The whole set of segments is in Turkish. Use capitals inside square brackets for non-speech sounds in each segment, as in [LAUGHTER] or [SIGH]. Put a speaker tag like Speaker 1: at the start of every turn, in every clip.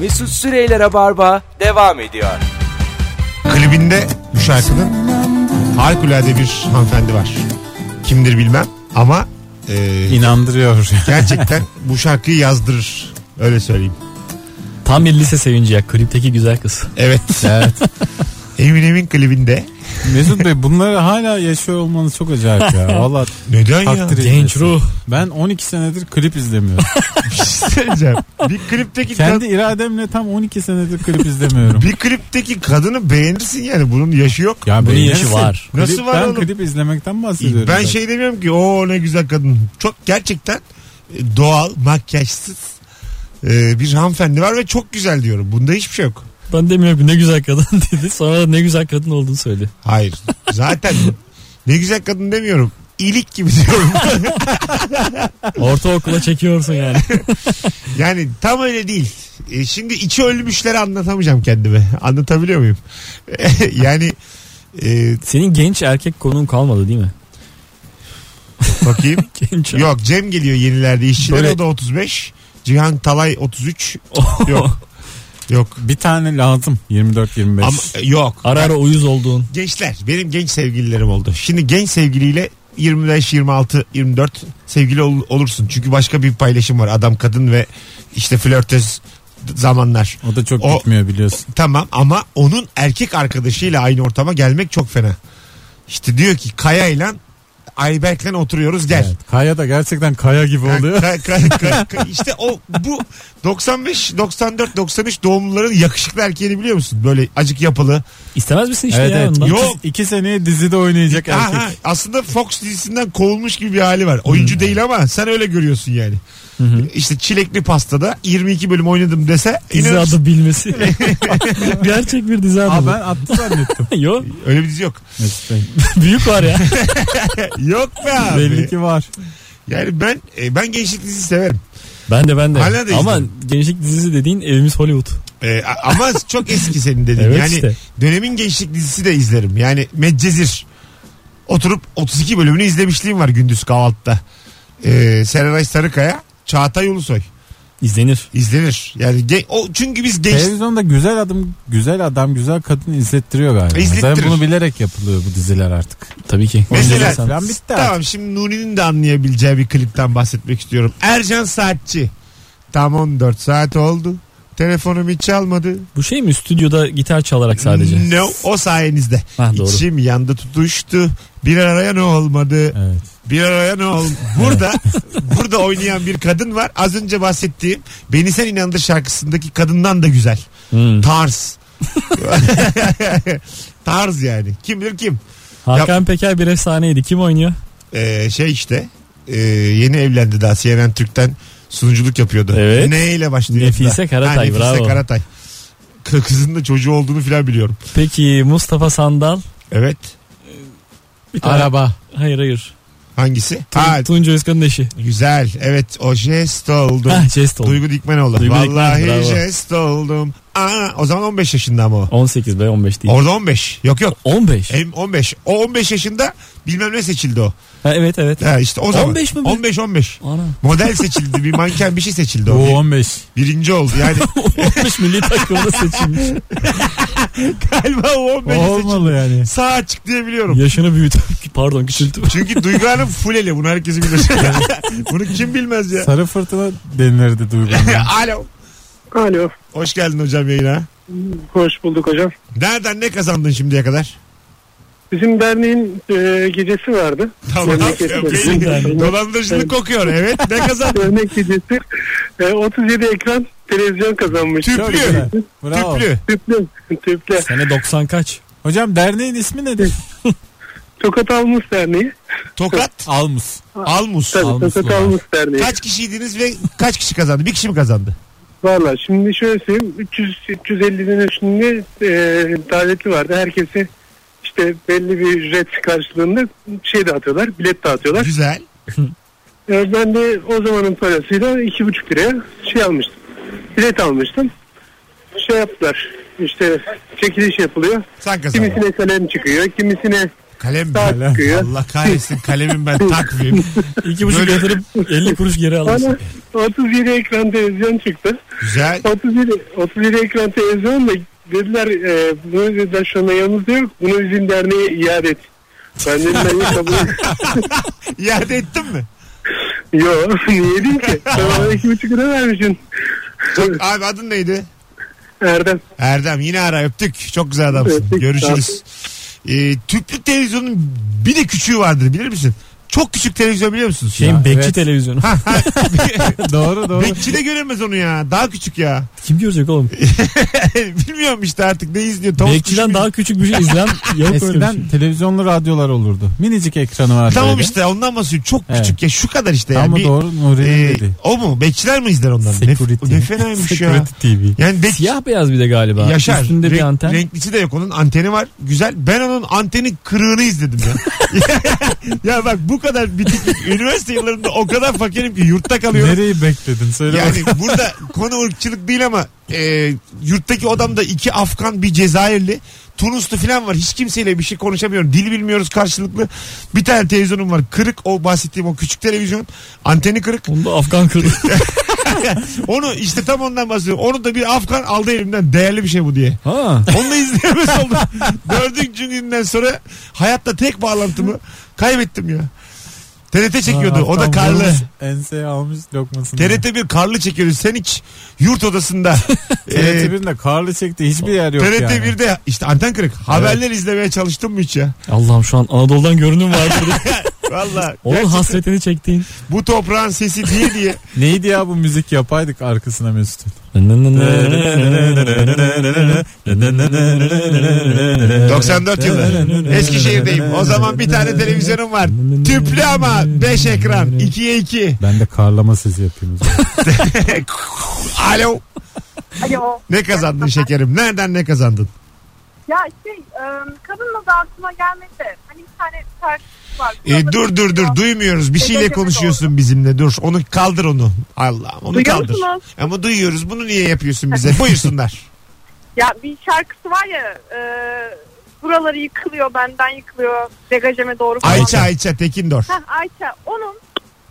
Speaker 1: Mesut Süreyler'e barba devam ediyor.
Speaker 2: Klibinde bu şarkının harikulade bir hanımefendi var. Kimdir bilmem ama e,
Speaker 3: İnandırıyor.
Speaker 2: gerçekten bu şarkıyı yazdırır. Öyle söyleyeyim.
Speaker 4: Tam bir lise sevinci ya. Klipteki güzel kız.
Speaker 2: Evet.
Speaker 3: [LAUGHS] evet.
Speaker 2: Eminem'in klibinde.
Speaker 3: Mesut Bey bunları hala yaşıyor olmanız çok acayip ya.
Speaker 4: [LAUGHS]
Speaker 3: Valla
Speaker 2: Neden ya?
Speaker 3: takdir
Speaker 4: Genç
Speaker 3: ediyorsun.
Speaker 4: ruh.
Speaker 3: Ben 12 senedir klip izlemiyorum.
Speaker 2: Bir şey söyleyeceğim. Bir klipteki
Speaker 4: [LAUGHS]
Speaker 3: Kendi irademle tam 12 senedir klip izlemiyorum.
Speaker 2: kad- bir klipteki kadını beğenirsin yani bunun yaşı yok.
Speaker 3: Ya
Speaker 4: Bunun
Speaker 3: beğenirsin.
Speaker 4: yaşı var.
Speaker 2: Nasıl
Speaker 3: Klip-
Speaker 2: var
Speaker 3: ben
Speaker 2: oğlum?
Speaker 3: klip izlemekten bahsediyorum.
Speaker 2: Ben
Speaker 3: zaten.
Speaker 2: şey demiyorum ki o ne güzel kadın. Çok gerçekten e, doğal, makyajsız e, bir hanımefendi var ve çok güzel diyorum. Bunda hiçbir şey yok.
Speaker 4: Ben demiyorum ki ne güzel kadın [LAUGHS] dedi. Sonra da ne güzel kadın olduğunu söyledi.
Speaker 2: Hayır. Zaten ne güzel kadın demiyorum. İlik gibi diyorum.
Speaker 4: Ortaokula çekiyorsun yani.
Speaker 2: Yani tam öyle değil. E, şimdi içi ölmüşleri anlatamayacağım kendime. Anlatabiliyor muyum? [LAUGHS] yani e,
Speaker 4: [LAUGHS] Senin genç erkek konun kalmadı değil mi?
Speaker 2: bakayım.
Speaker 4: Genç
Speaker 2: Yok Cem geliyor yenilerde işçiler
Speaker 4: Böyle-
Speaker 2: o da 35. Cihan Talay 33. Yok. Yok.
Speaker 3: Bir tane lazım 24-25.
Speaker 2: Ama, yok.
Speaker 4: Ara ara uyuz olduğun.
Speaker 2: Gençler benim genç sevgililerim oldu. Şimdi genç sevgiliyle 25, 26, 24 sevgili ol- olursun. Çünkü başka bir paylaşım var. Adam kadın ve işte flörtöz zamanlar.
Speaker 3: O da çok
Speaker 2: O- [LAUGHS]
Speaker 3: gitmiyor biliyorsun.
Speaker 2: Tamam ama onun erkek arkadaşıyla aynı ortama gelmek çok fena. İşte diyor ki Kaya ile Ayberk'le oturuyoruz gel.
Speaker 3: Evet. Kaya da gerçekten kaya gibi oluyor.
Speaker 2: Ka- ka- ka- ka- işte o bu 95, 94, 93 doğumluların yakışıklı erkeğini biliyor musun? Böyle acık yapılı.
Speaker 4: İstemez misin işte
Speaker 3: evet
Speaker 4: ya
Speaker 3: evet.
Speaker 4: ondan?
Speaker 2: Yok.
Speaker 3: İki, iki seneye dizide oynayacak erkek.
Speaker 2: Aha, aslında Fox dizisinden kovulmuş gibi bir hali var. Oyuncu değil ama sen öyle görüyorsun yani. İşte çilekli pastada 22 bölüm oynadım dese
Speaker 4: Dizi
Speaker 2: inanırsın. [LAUGHS]
Speaker 4: adı bilmesi. Gerçek bir dizi
Speaker 3: Aa,
Speaker 4: adı.
Speaker 3: ben attı zannettim.
Speaker 4: bu. Yok.
Speaker 2: Öyle bir dizi yok.
Speaker 3: Mesut Bey.
Speaker 4: [LAUGHS] Büyük var ya.
Speaker 2: Yok be abi.
Speaker 3: Belli ki var.
Speaker 2: Yani ben e, ben gençlik dizisi severim.
Speaker 4: Ben de ben de.
Speaker 2: Hala da
Speaker 4: Ama
Speaker 2: izledim.
Speaker 4: gençlik dizisi dediğin evimiz Hollywood.
Speaker 2: E, a- ama çok eski senin dediğin.
Speaker 4: Evet
Speaker 2: yani
Speaker 4: işte.
Speaker 2: dönemin gençlik dizisi de izlerim. Yani Medcezir. Oturup 32 bölümünü izlemişliğim var gündüz kahvaltıda. E, Serenay Sarıkaya, Çağatay Ulusoy
Speaker 4: İzlenir.
Speaker 2: izlenir. Yani gen- o çünkü biz genç
Speaker 3: Televizyonda güzel adam, güzel adam, güzel kadın izlettiriyor galiba.
Speaker 2: İzlettirir.
Speaker 3: Zaten bunu bilerek yapılıyor bu diziler artık.
Speaker 4: Tabii ki.
Speaker 2: Mesela-
Speaker 4: Oyuncular sen-
Speaker 3: Ben bitti artık.
Speaker 2: Tamam şimdi Nuri'nin de anlayabileceği bir klipten bahsetmek istiyorum. Ercan Saatçi. Tam 14 saat oldu. Telefonum hiç çalmadı.
Speaker 4: Bu şey mi stüdyoda gitar çalarak sadece?
Speaker 2: No, o sayenizde.
Speaker 4: Ha, doğru.
Speaker 2: İçim yandı tutuştu. Bir araya ne olmadı?
Speaker 3: Evet.
Speaker 2: Bir araya ne oldu?
Speaker 4: [LAUGHS]
Speaker 2: Burada burada oynayan bir kadın var. Az önce bahsettiğim Beni Sen İnandır şarkısındaki kadından da güzel.
Speaker 4: Hmm. [LAUGHS]
Speaker 2: Tarz. [LAUGHS] Tarz yani. Kim bilir kim.
Speaker 4: Hakan Peker bir efsaneydi. Kim oynuyor?
Speaker 2: Ee, şey işte ee, yeni evlendi daha CNN Türk'ten sunuculuk yapıyordu.
Speaker 4: Evet.
Speaker 2: Ne ile başlıyor?
Speaker 4: Nefise Karatay,
Speaker 2: Ha, Nefise
Speaker 4: bravo.
Speaker 2: Karatay. K- Kızın da çocuğu olduğunu filan biliyorum.
Speaker 4: Peki Mustafa Sandal?
Speaker 2: Evet.
Speaker 4: Bir tane-
Speaker 3: Araba.
Speaker 4: Hayır hayır.
Speaker 2: Hangisi?
Speaker 4: Tun-
Speaker 2: Ha,
Speaker 4: Tunca Özkan'ın eşi.
Speaker 2: güzel. Evet o jest oldum.
Speaker 4: Hah jest oldu.
Speaker 2: Duygu Dikmenoğlu.
Speaker 4: Duygu Dikmen,
Speaker 2: Vallahi
Speaker 4: bravo.
Speaker 2: jest oldum. Aa, o zaman 15 yaşında ama o.
Speaker 4: 18 be 15 değil.
Speaker 2: Orada 15. Yok yok.
Speaker 4: 15.
Speaker 2: Hem 15. O 15 yaşında bilmem ne seçildi o.
Speaker 4: Ha, evet evet.
Speaker 2: Ha, işte o zaman.
Speaker 4: 15 mi?
Speaker 2: 15 15.
Speaker 4: Ana. [LAUGHS]
Speaker 2: Model seçildi. bir manken bir şey seçildi
Speaker 3: Bu
Speaker 2: o.
Speaker 3: 15.
Speaker 2: Birinci oldu yani.
Speaker 4: 15 [LAUGHS] milli takımda seçilmiş.
Speaker 2: Galiba o 15
Speaker 3: O
Speaker 2: seçim.
Speaker 3: olmalı yani.
Speaker 2: Sağ açık diye biliyorum.
Speaker 4: Yaşını büyütüp [LAUGHS] pardon küçültüp.
Speaker 2: Çünkü Duygu Hanım full eli. Bunu herkes bilir.
Speaker 4: [LAUGHS]
Speaker 2: Bunu kim bilmez ya.
Speaker 3: Sarı fırtına
Speaker 2: [LAUGHS]
Speaker 3: denilirdi duygulanma.
Speaker 2: Alo.
Speaker 5: Alo.
Speaker 2: Hoş geldin hocam yayına.
Speaker 5: Hoş bulduk hocam.
Speaker 2: Nereden ne kazandın şimdiye kadar?
Speaker 5: Bizim derneğin e, gecesi vardı.
Speaker 2: Tamam.
Speaker 5: Memleket
Speaker 2: Öpeyim.
Speaker 5: gecesi.
Speaker 4: derneğin.
Speaker 2: Dolandırıcılık kokuyor. Evet ne
Speaker 3: [LAUGHS]
Speaker 2: kazandın?
Speaker 5: Dernek gecesi. E, 37 ekran televizyon kazanmış.
Speaker 3: Çok
Speaker 2: Tüplü.
Speaker 3: güzel. Bravo.
Speaker 2: Tüplü.
Speaker 5: Tüplü. Tüplü.
Speaker 4: Sene 90 kaç?
Speaker 3: Hocam derneğin ismi nedir?
Speaker 5: Tokat Almus Derneği.
Speaker 2: Tokat.
Speaker 4: [LAUGHS]
Speaker 3: Almus.
Speaker 2: Almus.
Speaker 5: Tabii
Speaker 3: Almus
Speaker 5: Tokat
Speaker 3: bu.
Speaker 5: Almus Derneği.
Speaker 2: Kaç kişiydiniz ve kaç kişi kazandı? Bir kişi mi kazandı?
Speaker 5: Valla şimdi şöyle söyleyeyim. 300, 350'nin üstünde e, davetli vardı. Herkesi işte belli bir ücret karşılığında şey dağıtıyorlar. Bilet dağıtıyorlar.
Speaker 2: Güzel.
Speaker 5: E, ben de o zamanın parasıyla iki buçuk liraya şey almıştım. Bilet almıştım. Şey yaptılar. İşte çekiliş yapılıyor.
Speaker 2: Sen kazandın.
Speaker 5: Kimisine kalem çıkıyor, kimisine
Speaker 2: Kalem
Speaker 5: Saat
Speaker 2: ben.
Speaker 5: çıkıyor.
Speaker 2: Allah kahretsin kalemim ben takvim.
Speaker 4: İki buçuk
Speaker 2: Böyle-
Speaker 4: yatırıp 50 kuruş geri alırsın.
Speaker 5: Bana 37 ekran televizyon çıktı.
Speaker 2: Güzel.
Speaker 5: 37, 37 ekran televizyon da dediler e, bunu dediler şu anda yanımızda yok. Bunu bizim derneğe iade et. Ben dedim ben hiç kabul [LAUGHS]
Speaker 2: İade ettin mi?
Speaker 5: Yok [LAUGHS] niye diyeyim ki? Sen bana iki buçuk lira vermişsin.
Speaker 2: Abi adın neydi?
Speaker 5: Erdem.
Speaker 2: Erdem yine ara öptük. Çok güzel adamsın.
Speaker 5: Öptük,
Speaker 2: Görüşürüz. Ee, tüplü televizyonun bir de küçüğü vardır bilir misin? Çok küçük televizyon biliyor musunuz?
Speaker 3: Şey,
Speaker 4: Şeyin
Speaker 2: Ya.
Speaker 4: bekçi
Speaker 3: evet.
Speaker 4: televizyonu.
Speaker 3: doğru doğru.
Speaker 2: Bekçi de göremez onu ya. Daha küçük ya. [LAUGHS]
Speaker 4: Kim görecek oğlum?
Speaker 2: Bilmiyorum işte artık ne izliyor. Tavus
Speaker 4: Bekçiden
Speaker 2: kuşu mu?
Speaker 4: daha küçük bir şey izlen yok öyle bir şey.
Speaker 3: Eskiden televizyonlu radyolar olurdu. Minicik ekranı vardı.
Speaker 2: Tamam
Speaker 3: öyle.
Speaker 2: işte ondan bahsediyorum. Çok
Speaker 3: Evet.
Speaker 2: küçük ya şu kadar işte.
Speaker 3: Ama
Speaker 2: yani. Bir-
Speaker 3: doğru Nuri'nin
Speaker 2: Ee,
Speaker 3: dedi.
Speaker 2: o mu? Bekçiler mi izler ondan? Ne,
Speaker 3: Security.
Speaker 2: ne fenaymış ya.
Speaker 3: Security TV.
Speaker 2: Yani bekçi
Speaker 4: Siyah beyaz bir de galiba.
Speaker 2: Yaşar.
Speaker 4: Üstünde bir
Speaker 2: Renk-
Speaker 4: anten.
Speaker 2: Renklisi de yok onun. Anteni var. Güzel. Ben onun anteni kırığını izledim ya. [LAUGHS] ya bak bu kadar bitik. Üniversite yıllarında o kadar fakirim ki yurtta kalıyorum.
Speaker 3: Nereyi bekledin? Söyle
Speaker 2: Yani burada konu ırkçılık değil ama e, yurttaki odamda iki Afgan bir Cezayirli Tunuslu falan var. Hiç kimseyle bir şey konuşamıyorum. Dil bilmiyoruz karşılıklı. Bir tane televizyonum var. Kırık o bahsettiğim o küçük televizyon. Anteni kırık.
Speaker 4: Onu da Afgan kırdı.
Speaker 2: Onu işte tam ondan bahsediyorum. Onu da bir Afgan aldı elimden. Değerli bir şey bu diye.
Speaker 4: ha.
Speaker 2: Onu da izleyemez oldum. Dördüncü günden sonra hayatta tek bağlantımı kaybettim ya. TRT çekiyordu.
Speaker 3: Aa,
Speaker 2: o da
Speaker 3: tam
Speaker 2: karlı.
Speaker 3: vurmuş, Enseye almış lokmasını.
Speaker 2: TRT bir karlı çekiyordu. Sen hiç yurt odasında.
Speaker 3: TRT
Speaker 2: e,
Speaker 3: 1'in de karlı çekti. Hiçbir yer yok
Speaker 2: TRT
Speaker 3: yani.
Speaker 2: 1'de işte anten kırık. Haberler izlemeye çalıştım mı hiç ya?
Speaker 4: Allah'ım şu an Anadolu'dan görünüm var burada.
Speaker 2: Valla.
Speaker 4: Onun hasretini çektiğin.
Speaker 2: bu toprağın sesi diye diye.
Speaker 3: Neydi ya bu müzik yapaydık arkasına Mesut.
Speaker 4: [LAUGHS] Dok-
Speaker 2: 94 yılı. Eskişehir'deyim. O zaman bir tane televizyonum var. Tüplü ama 5 ekran. 2'ye 2.
Speaker 3: Ben de karlama sesi yapıyorum. o
Speaker 2: [LAUGHS]
Speaker 3: zaman.
Speaker 2: Alo.
Speaker 6: Alo.
Speaker 2: Ne kazandın şekerim? Nereden ne kazandın?
Speaker 6: Ya şey e, kadınla da aklıma gelmedi. Hani bir tane tartışma var.
Speaker 2: E, dur dur dur duymuyoruz. Bir şeyle konuşuyorsun bizimle. Dur onu kaldır onu. Allah onu
Speaker 6: Duyuyor
Speaker 2: kaldır.
Speaker 6: musunuz?
Speaker 2: Ama duyuyoruz. Bunu niye yapıyorsun
Speaker 6: [LAUGHS]
Speaker 2: bize? Buyursunlar.
Speaker 6: Ya bir şarkısı var ya e, buraları yıkılıyor benden yıkılıyor degajeme doğru falan.
Speaker 2: Ayça Ayça Tekindor.
Speaker 6: Heh, Ayça onun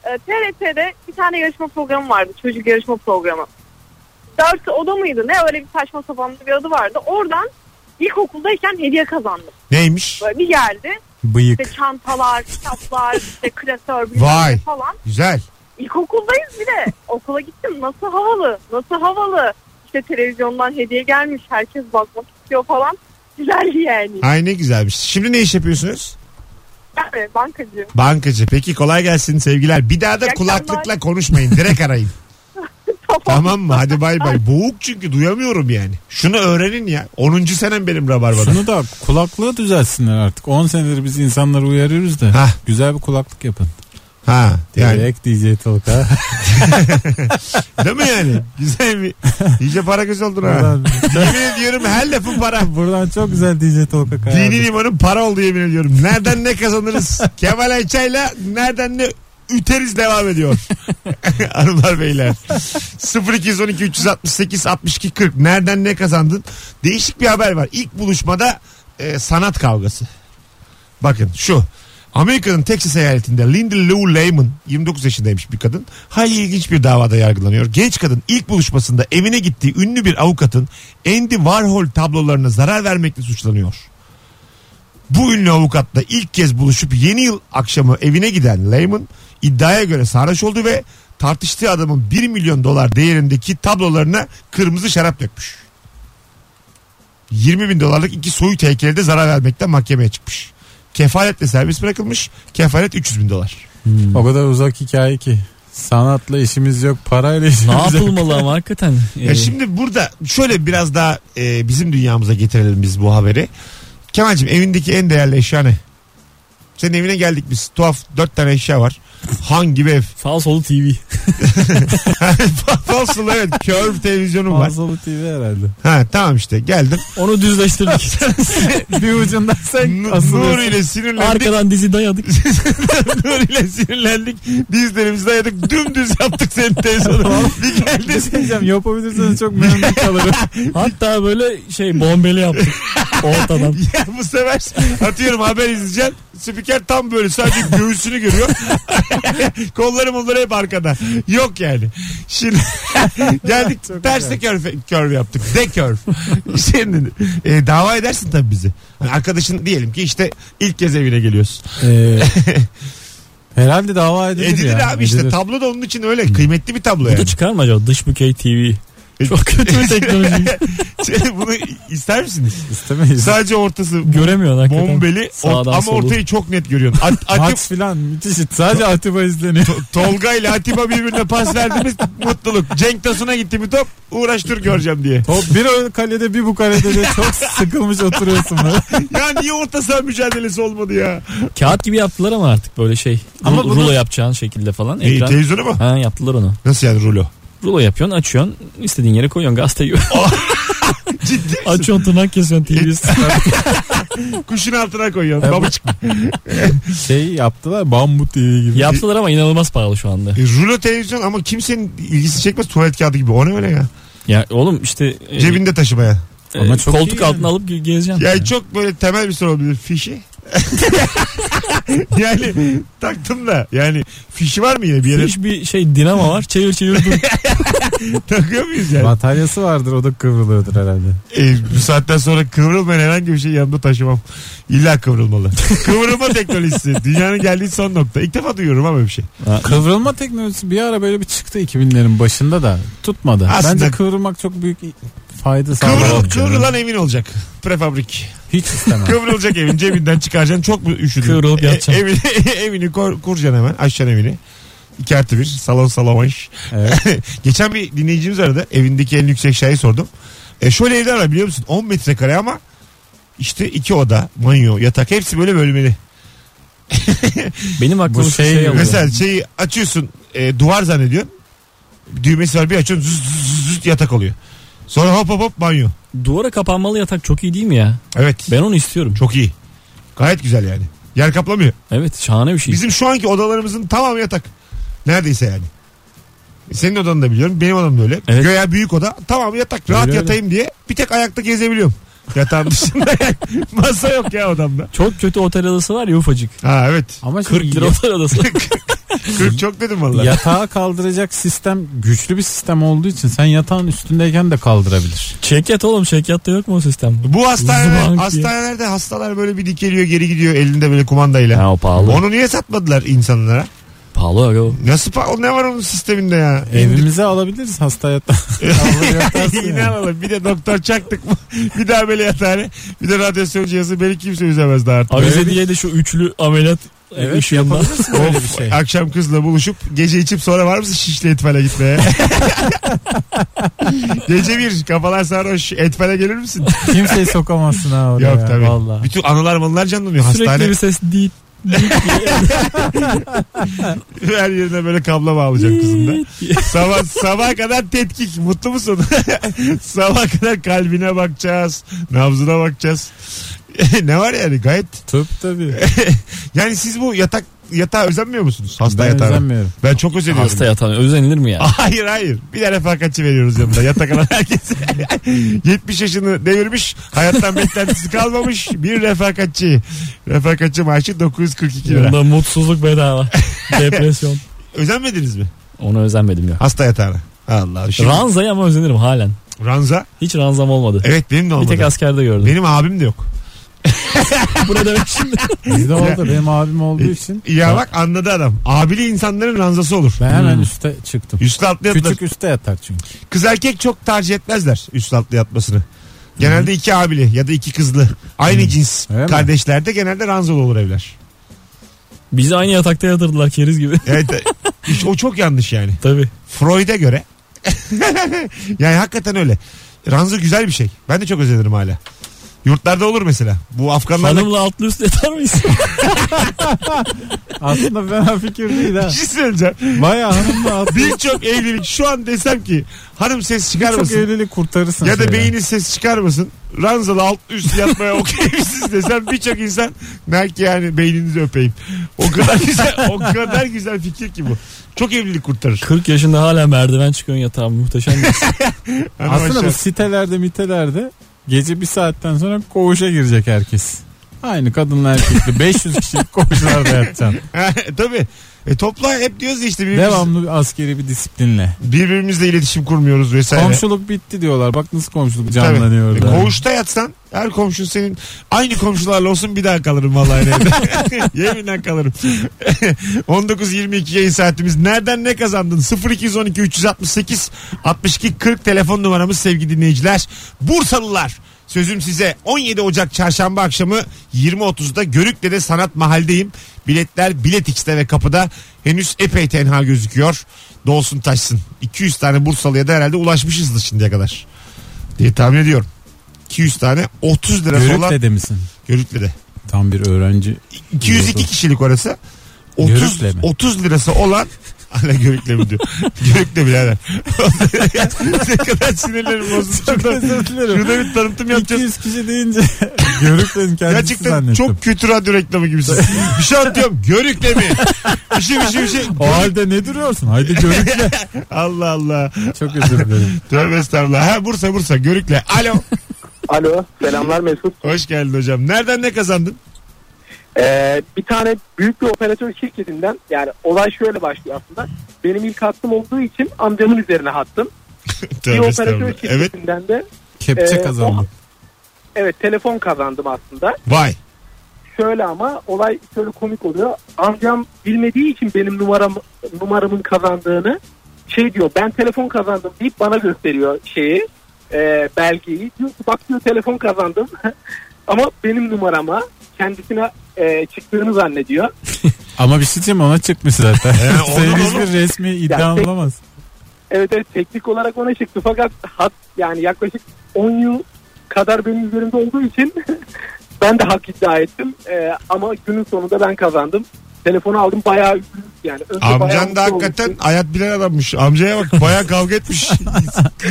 Speaker 6: e, TRT'de bir tane yarışma programı vardı. Çocuk yarışma programı. Dört oda mıydı ne öyle bir saçma sapan bir adı vardı. Oradan ilkokuldayken hediye kazandım.
Speaker 2: Neymiş?
Speaker 6: Böyle bir geldi.
Speaker 3: Bıyık.
Speaker 6: İşte çantalar, kitaplar, işte klasör
Speaker 2: Vay.
Speaker 6: bilmem ne falan.
Speaker 2: Güzel.
Speaker 6: İlkokuldayız bir de. Okula gittim. Nasıl havalı? Nasıl havalı? İşte televizyondan hediye gelmiş. Herkes bakmak istiyor falan. Güzel yani.
Speaker 2: Ay ne güzelmiş. Şimdi ne iş yapıyorsunuz?
Speaker 6: Yani bankacı.
Speaker 2: Bankacı. Peki kolay gelsin sevgiler. Bir daha da
Speaker 6: İyi akşamlar.
Speaker 2: kulaklıkla konuşmayın. Direkt
Speaker 6: [LAUGHS]
Speaker 2: arayın. tamam mı? Hadi bay bay. Boğuk çünkü duyamıyorum yani. Şunu öğrenin ya. 10. senem benim Rabarba'da.
Speaker 3: Şunu da kulaklığı düzelsinler artık. 10 senedir biz insanları uyarıyoruz da.
Speaker 2: Hah.
Speaker 3: Güzel bir kulaklık yapın.
Speaker 2: Ha yani.
Speaker 3: Direkt DJ Tolga.
Speaker 2: Değil mi yani? Güzel
Speaker 6: [LAUGHS]
Speaker 2: bir. İyice para göz oldun ha.
Speaker 3: [LAUGHS] buradan,
Speaker 2: Yemin ediyorum her lafın para.
Speaker 3: buradan çok güzel DJ Tolga kayardı.
Speaker 2: Dini limanın para olduğu yemin ediyorum. Nereden ne kazanırız? Kemal Ayça'yla nereden ne üteriz devam ediyor. [LAUGHS] Hanımlar beyler. 0212 368 62 40 nereden ne kazandın? Değişik bir haber var. İlk buluşmada e, sanat kavgası. Bakın şu. Amerika'nın Texas eyaletinde Linda Lou Lehman 29 yaşındaymış bir kadın. Hayli ilginç bir davada yargılanıyor. Genç kadın ilk buluşmasında evine gittiği ünlü bir avukatın Andy Warhol tablolarına zarar vermekle suçlanıyor. Bu ünlü avukatla ilk kez buluşup yeni yıl akşamı evine giden Lehman iddiaya göre sarhoş oldu ve tartıştığı adamın 1 milyon dolar değerindeki tablolarına kırmızı şarap dökmüş. 20 bin dolarlık iki soyut heykeli de zarar vermekten mahkemeye çıkmış. Kefaletle serbest bırakılmış. Kefalet 300 bin dolar.
Speaker 3: O kadar uzak hikaye ki. Sanatla işimiz yok, parayla işimiz
Speaker 4: Ne
Speaker 3: yok.
Speaker 4: yapılmalı ama hakikaten. Ee,
Speaker 2: Ya şimdi burada şöyle biraz daha e, bizim dünyamıza getirelim biz bu haberi. Kemal'cim evindeki en değerli eşya ne? Senin evine geldik biz. Tuhaf dört tane eşya var. Hangi bir ev?
Speaker 4: Sağ solu TV.
Speaker 2: Olsun evet. Kör bir televizyonum var.
Speaker 3: Fazlalı TV herhalde.
Speaker 2: Ha tamam işte geldim.
Speaker 3: [LAUGHS]
Speaker 4: Onu düzleştirdik.
Speaker 3: bir ucundan [LAUGHS] sen
Speaker 2: N- Nur
Speaker 3: asılıyorsun.
Speaker 2: ile sinirlendik.
Speaker 4: Arkadan dizi dayadık.
Speaker 2: Nur ile sinirlendik. Dizlerimizi dayadık. Dümdüz yaptık senin televizyonu. bir
Speaker 3: Ne
Speaker 2: geldin.
Speaker 3: şey diyeceğim yapabilirseniz
Speaker 2: [LAUGHS]
Speaker 3: çok memnun kalırım.
Speaker 4: Hatta böyle şey bombeli yaptık. Ortadan.
Speaker 3: [LAUGHS]
Speaker 2: Ya bu sefer atıyorum haber izleyeceğim. Spiker tam böyle sadece göğsünü görüyor. [LAUGHS] Kollarım onları hep arkada. Yok yani. Şimdi [LAUGHS] geldik ters de körf, körv yaptık. De körv. Şimdi e, dava edersin tabii bizi. Hani arkadaşın diyelim ki işte ilk kez evine geliyorsun.
Speaker 3: Ee, herhalde dava edilir,
Speaker 2: Edilir
Speaker 3: ya.
Speaker 2: abi işte
Speaker 3: Edilir.
Speaker 2: tablo da onun için öyle kıymetli bir tablo
Speaker 4: Bu da
Speaker 2: yani.
Speaker 4: çıkar mı acaba? Dış bükey TV.
Speaker 3: E,
Speaker 4: Çok kötü
Speaker 3: [LAUGHS]
Speaker 4: bir teknoloji.
Speaker 2: [LAUGHS] Bunu ister misiniz?
Speaker 4: [LAUGHS]
Speaker 3: İstemeyiz.
Speaker 2: Sadece ortası
Speaker 4: Göremiyorsun hakikaten.
Speaker 2: bombeli
Speaker 4: Sağdan
Speaker 2: ort- ama
Speaker 4: soldan.
Speaker 2: ortayı çok net görüyorsun. At,
Speaker 4: [LAUGHS]
Speaker 2: Atip,
Speaker 3: Maç filan müthiş. Sadece Atiba izleniyor.
Speaker 2: Tolga ile Atiba birbirine pas
Speaker 4: [LAUGHS]
Speaker 2: verdiğimiz mutluluk. Cenk Tosun'a gitti bir top uğraştır göreceğim diye.
Speaker 3: Top bir o kalede bir bu kalede de çok sıkılmış oturuyorsun böyle.
Speaker 2: Ya niye orta saha mücadelesi olmadı ya?
Speaker 4: Kağıt gibi yaptılar ama artık böyle şey.
Speaker 2: Ama
Speaker 4: Ama
Speaker 2: bunu-
Speaker 4: Rulo yapacağın şekilde falan.
Speaker 2: E,
Speaker 4: Ekran.
Speaker 2: televizyonu mu?
Speaker 4: Ha yaptılar onu.
Speaker 2: Nasıl yani rulo?
Speaker 4: Rulo yapıyorsun, açıyorsun, istediğin yere koyuyorsun gazeteyi.
Speaker 3: [LAUGHS]
Speaker 2: Ciddi misin?
Speaker 4: açıyorsun, tırnak kesiyorsun
Speaker 3: [LAUGHS]
Speaker 4: TV'yi.
Speaker 2: Kuşun altına koyuyorsun. Babacık.
Speaker 3: Şey yaptılar bambu TV gibi.
Speaker 4: Yaptılar ama inanılmaz pahalı şu anda.
Speaker 2: E, rulo televizyon ama kimsenin ilgisi çekmez tuvalet kağıdı gibi. O ne öyle ya?
Speaker 4: Ya oğlum işte e,
Speaker 2: Cebinde taşımaya.
Speaker 4: e,
Speaker 3: Ama çok iyi
Speaker 4: koltuk
Speaker 3: yani.
Speaker 4: altına alıp ge- gezeceksin.
Speaker 2: Yani çok böyle temel bir soru olabilir. Fişi. yani taktım da yani fişi var mı yine bir yere
Speaker 4: Hiç bir şey dinamo var. Çevir çevir
Speaker 2: [LAUGHS]
Speaker 4: dur.
Speaker 2: takıyor muyuz yani?
Speaker 3: Bataryası vardır o da kıvrılıyordur herhalde.
Speaker 2: E, bu saatten sonra kıvrılmayan herhangi bir şey yanımda taşımam. İlla kıvrılmalı. Kıvrılma teknolojisi. Dünyanın geldiği son nokta. İlk defa duyuyorum ama böyle bir şey.
Speaker 3: Kıvrılma teknolojisi bir ara böyle bir çıktı 2000'lerin başında da tutmadı.
Speaker 2: Aslında-
Speaker 3: Bence kıvrılmak çok büyük fayda sağlar.
Speaker 2: Kıvrıl, kıvrılan emin olacak. Prefabrik.
Speaker 3: Hiç istemem.
Speaker 2: Kıvrılacak evin cebinden çıkaracaksın. Çok mu üşüdün?
Speaker 4: Kıvrılıp yatacaksın.
Speaker 2: E, evini, [LAUGHS] evini kor, kuracaksın hemen. Aşacaksın evini. İki artı bir. Salon salamanş.
Speaker 3: Evet.
Speaker 2: [LAUGHS] Geçen bir dinleyicimiz aradı. Evindeki en yüksek şeyi sordum. E, şöyle evler var biliyor musun? 10 metrekare ama işte iki oda, banyo, yatak hepsi böyle bölmeli.
Speaker 4: Benim aklıma
Speaker 3: Bu
Speaker 4: şu şey,
Speaker 3: şey gibi.
Speaker 4: oluyor.
Speaker 2: Mesela şeyi açıyorsun e, duvar zannediyorsun. Düğmesi var bir açıyorsun züz züz züz züz yatak oluyor. Sonra hop hop hop banyo.
Speaker 4: Duvara kapanmalı yatak çok iyi değil mi ya?
Speaker 2: Evet.
Speaker 4: Ben onu istiyorum.
Speaker 2: Çok iyi. Gayet güzel yani. Yer kaplamıyor.
Speaker 4: Evet şahane bir şey.
Speaker 2: Bizim şu anki odalarımızın tamamı yatak. Neredeyse yani. Senin odanı da biliyorum. Benim odam da öyle.
Speaker 4: Evet.
Speaker 2: Göya büyük oda. Tamamı yatak. Rahat
Speaker 3: Öyle öyle.
Speaker 2: yatayım diye bir tek ayakta gezebiliyorum. Yatağın [LAUGHS] dışında yani. Masa yok ya odamda.
Speaker 4: Çok kötü otel adası var ya ufacık.
Speaker 2: Ha evet. [LAUGHS]
Speaker 3: Ama
Speaker 4: 40
Speaker 3: şimdi
Speaker 4: lira otel
Speaker 3: [LAUGHS]
Speaker 4: adası.
Speaker 2: 40 çok dedim valla.
Speaker 3: yatağa kaldıracak sistem güçlü bir sistem olduğu için sen yatağın üstündeyken de kaldırabilir.
Speaker 4: Çekyat oğlum çekyatta yok mu o sistem?
Speaker 2: Bu hastaneler,
Speaker 4: Zıvank diye.
Speaker 2: hastanelerde hastalar böyle bir dikeliyor geri gidiyor elinde böyle kumandayla.
Speaker 4: Ha o pahalı.
Speaker 2: Onu niye satmadılar insanlara?
Speaker 4: Pahalı aga o.
Speaker 2: Nasıl pa- o ne var onun sisteminde ya?
Speaker 3: Evimize alabiliriz hasta [LAUGHS] yatağı.
Speaker 2: İnanalım. Bir de doktor çaktık mı? [LAUGHS] Bir daha ameliyathane. Bir de radyasyon cihazı. Beni kimse üzemez daha artık.
Speaker 4: Avize
Speaker 3: bir-
Speaker 4: diye de şu üçlü ameliyat
Speaker 3: Evet,
Speaker 4: evet, ışığında.
Speaker 3: [LAUGHS] Öyle bir şey.
Speaker 2: Akşam kızla buluşup gece içip sonra var mısın Şişli Etfel'e gitmeye? [LAUGHS] gece bir kafalar sarhoş Etfel'e gelir misin?
Speaker 3: Kimseyi sokamazsın ha oraya.
Speaker 2: Yok tabii.
Speaker 3: Vallahi.
Speaker 2: Bütün anılar manılar canlanıyor.
Speaker 4: Sürekli
Speaker 2: Hastane
Speaker 4: bir ses değil.
Speaker 2: [LAUGHS] her yerine böyle kablo bağlayacak kızım
Speaker 4: [LAUGHS]
Speaker 2: da. Sabah, sabah kadar tetkik. Mutlu musun? [LAUGHS] sabah kadar kalbine bakacağız. Nabzına bakacağız. [LAUGHS] ne var yani gayet
Speaker 3: Tıp tabii.
Speaker 2: Yani siz bu yatak yatağa özenmiyor musunuz? Hasta
Speaker 3: Ben
Speaker 2: yatağına.
Speaker 3: özenmiyorum.
Speaker 2: Ben çok özeniyorum.
Speaker 4: Hasta yatan özenilir mi ya?
Speaker 2: Hayır hayır. Bir de refakatçi veriyoruz yanında. Yatak alan [LAUGHS] herkese. 70 yaşını devirmiş. Hayattan beklentisi kalmamış. Bir refakatçi. Refakatçi maaşı 942 lira.
Speaker 4: Bunda mutsuzluk [LAUGHS] bedava. Depresyon.
Speaker 2: Özenmediniz mi?
Speaker 4: Ona özenmedim ya.
Speaker 2: Hasta yatağına. Allah. Şimdi,
Speaker 4: Ranza'yı ama özenirim halen.
Speaker 2: ranza.
Speaker 4: Hiç ranzam olmadı.
Speaker 3: E,
Speaker 2: Evet benim de
Speaker 4: Bir
Speaker 2: olmadı.
Speaker 4: tek askerde gördüm.
Speaker 2: Benim abim de yok.
Speaker 4: [LAUGHS] Bu ne demek şimdi?
Speaker 3: Bizde oldu. Benim abim olduğu için
Speaker 2: Ya bak anladı adam. Abili insanların ranzası olur.
Speaker 3: ben hemen
Speaker 4: Hmm.
Speaker 3: üste çıktım.
Speaker 2: Üstlü altlı yatılır.
Speaker 3: Küçük üste yatar çünkü.
Speaker 2: Kız erkek çok tercih etmezler üst altlı yatmasını. Genelde iki abili ya da iki kızlı. Aynı cins
Speaker 3: Hmm. Öyle mi?
Speaker 2: kardeşlerde genelde ranzalı olur evler.
Speaker 4: Bizi aynı yatakta yatırdılar
Speaker 3: [LAUGHS]
Speaker 4: keriz gibi.
Speaker 2: Evet, e, hiç- o çok yanlış yani.
Speaker 4: Tabii.
Speaker 2: Freud'a göre. [LAUGHS] yani hakikaten öyle. Ranza güzel bir şey. Ben de çok özenirim hala. Yurtlarda olur mesela. Bu Afganlarla
Speaker 4: Hanımla altlı üstlü yatar
Speaker 3: [LAUGHS]
Speaker 4: mıyız?
Speaker 3: Aslında fena fikir değil
Speaker 2: [LAUGHS]
Speaker 3: ha. [LAUGHS]
Speaker 2: bir şey söyleyeceğim.
Speaker 3: Bayağı hanımla atlı.
Speaker 2: Birçok evlilik şu an desem ki hanım ses
Speaker 3: Çok
Speaker 2: çıkarmasın.
Speaker 3: evlilik kurtarırsın.
Speaker 2: Ya da
Speaker 3: şeyden.
Speaker 2: beyni ses çıkarmasın. Ranzalı alt üst yatmaya okey misiniz desem birçok insan der ki yani beyninizi öpeyim. O kadar güzel o kadar güzel fikir ki bu. Çok evlilik kurtarır.
Speaker 4: 40 yaşında hala merdiven çıkıyorsun yatağa muhteşem. bir his.
Speaker 2: Hanım
Speaker 3: Aslında
Speaker 2: aşağı-
Speaker 3: bu sitelerde mitelerde gece bir saatten sonra koğuşa girecek herkes. Aynı kadınla erkekli
Speaker 2: [LAUGHS]
Speaker 3: 500 kişilik koğuşlarda yatacaksın.
Speaker 2: Tabii. E topla hep diyoruz ya işte birbirimiz,
Speaker 3: Devamlı bir askeri bir disiplinle.
Speaker 2: birbirimizle iletişim kurmuyoruz vesaire.
Speaker 3: Komşuluk bitti diyorlar. Bak nasıl komşuluk
Speaker 2: Tabii.
Speaker 3: canlanıyor
Speaker 2: E,
Speaker 3: orada.
Speaker 2: Koğuşta yatsan her komşun senin aynı komşularla olsun bir daha kalırım vallahi evde. [LAUGHS] Yeminle kalırım. 19-22 yayın saatimiz. Nereden ne kazandın? 0212 368 62 40 telefon numaramız sevgili dinleyiciler. Bursalılar sözüm size 17 Ocak çarşamba akşamı 20.30'da Görükle'de Sanat Mahal'deyim. Biletler Bilet X'te ve kapıda henüz epey tenha gözüküyor. Dolsun taşsın. 200 tane Bursalı'ya da herhalde ulaşmışızdır şimdiye kadar diye tahmin ediyorum. 200 tane 30 lirası olan
Speaker 3: Görükle de misin?
Speaker 2: Görükle'de.
Speaker 3: Tam bir öğrenci.
Speaker 2: 202 kişilik orası. 30,
Speaker 3: Görükle mi?
Speaker 2: 30 lirası olan [LAUGHS] Hala görükle mi diyor. görükle
Speaker 3: [LAUGHS]
Speaker 2: birader. ne kadar sinirlerim bozuldu. Şurada, şurada bir tanıtım yapacağız.
Speaker 3: 200 kişi deyince [LAUGHS] Görükle'nin kendisi
Speaker 2: Gerçekten
Speaker 3: zannettim.
Speaker 2: çok kötü radyo reklamı gibisin. bir şey anlatıyorum. Görükle mi? Bir şey bir şey bir şey.
Speaker 3: O halde ne duruyorsun? Haydi
Speaker 2: [LAUGHS]
Speaker 3: Görükle.
Speaker 2: Allah Allah.
Speaker 3: çok özür dilerim.
Speaker 2: Tövbe estağfurullah. Ha Bursa Bursa Görükle. Alo.
Speaker 7: Alo selamlar Mesut.
Speaker 2: Hoş geldin hocam. Nereden ne kazandın?
Speaker 7: Ee, bir tane büyük bir operatör şirketinden yani olay şöyle başlıyor aslında. Benim ilk hattım olduğu için amcamın üzerine hattım. Bir
Speaker 2: Tövbe
Speaker 7: operatör
Speaker 2: estağfurullah. Evet.
Speaker 7: şirketinden de
Speaker 3: Kepçe
Speaker 7: Ee,
Speaker 3: kazandı.
Speaker 7: evet telefon kazandım aslında.
Speaker 2: Vay.
Speaker 7: Şöyle ama olay şöyle komik oluyor. Amcam bilmediği için benim numaram numaramın kazandığını şey diyor ben telefon kazandım deyip bana gösteriyor şeyi e, belgeyi. Diyor ki bak diyor telefon kazandım [LAUGHS] ama benim numarama kendisine e, çıktığını zannediyor.
Speaker 3: [LAUGHS] Ama bir şey diyeyim ona çıkmış zaten.
Speaker 2: Ee, olur,
Speaker 3: Senin
Speaker 2: olur.
Speaker 3: hiçbir resmi iddian
Speaker 7: tek-
Speaker 3: olamaz.
Speaker 7: Evet evet teknik olarak ona çıktı fakat hat yani yaklaşık 10 yıl kadar benim üzerimde olduğu için [LAUGHS] ben de hak iddia ettim. Ee, ama günün sonunda ben kazandım. Telefonu aldım bayağı üzüldüm yani. Önce bayağı
Speaker 2: Amcan
Speaker 7: mutlu
Speaker 2: da hakikaten
Speaker 7: olmuştum.
Speaker 2: hayat bilen adammış. Amcaya bak bayağı kavga etmiş.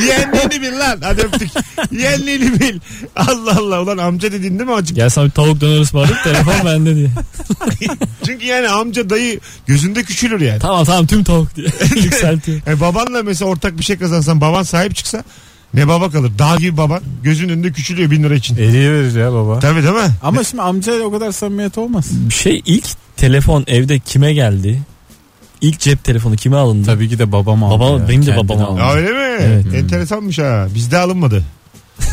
Speaker 2: Yeğenliğini bil lan. Hadi öptük. Yeğenliğini bil. Allah Allah. Ulan amca dediğin değil mi acık?
Speaker 4: Gel sana bir tavuk döner
Speaker 3: [LAUGHS]
Speaker 4: ısmarlayıp telefon bende diye.
Speaker 2: Çünkü yani amca dayı gözünde küçülür yani.
Speaker 4: Tamam tamam tüm
Speaker 3: [LAUGHS]
Speaker 4: tavuk diye. Yükseltiyor.
Speaker 2: E babanla mesela ortak bir şey kazansan baban sahip çıksa ne baba kalır? Dağ gibi baban gözünün önünde küçülüyor bin lira için.
Speaker 3: Eriye verir ya baba.
Speaker 2: Tabii değil mi?
Speaker 3: Ama şimdi amcayla o kadar samimiyet olmaz.
Speaker 4: Bir şey ilk telefon evde kime geldi? İlk cep telefonu kime alındı?
Speaker 3: Tabii ki de babam aldı.
Speaker 4: Babam-
Speaker 3: ya.
Speaker 4: benim de
Speaker 3: Kendini
Speaker 4: babam aldı.
Speaker 2: Ya Öyle mi?
Speaker 4: Evet.
Speaker 2: Enteresanmış ha. Bizde alınmadı. [LAUGHS]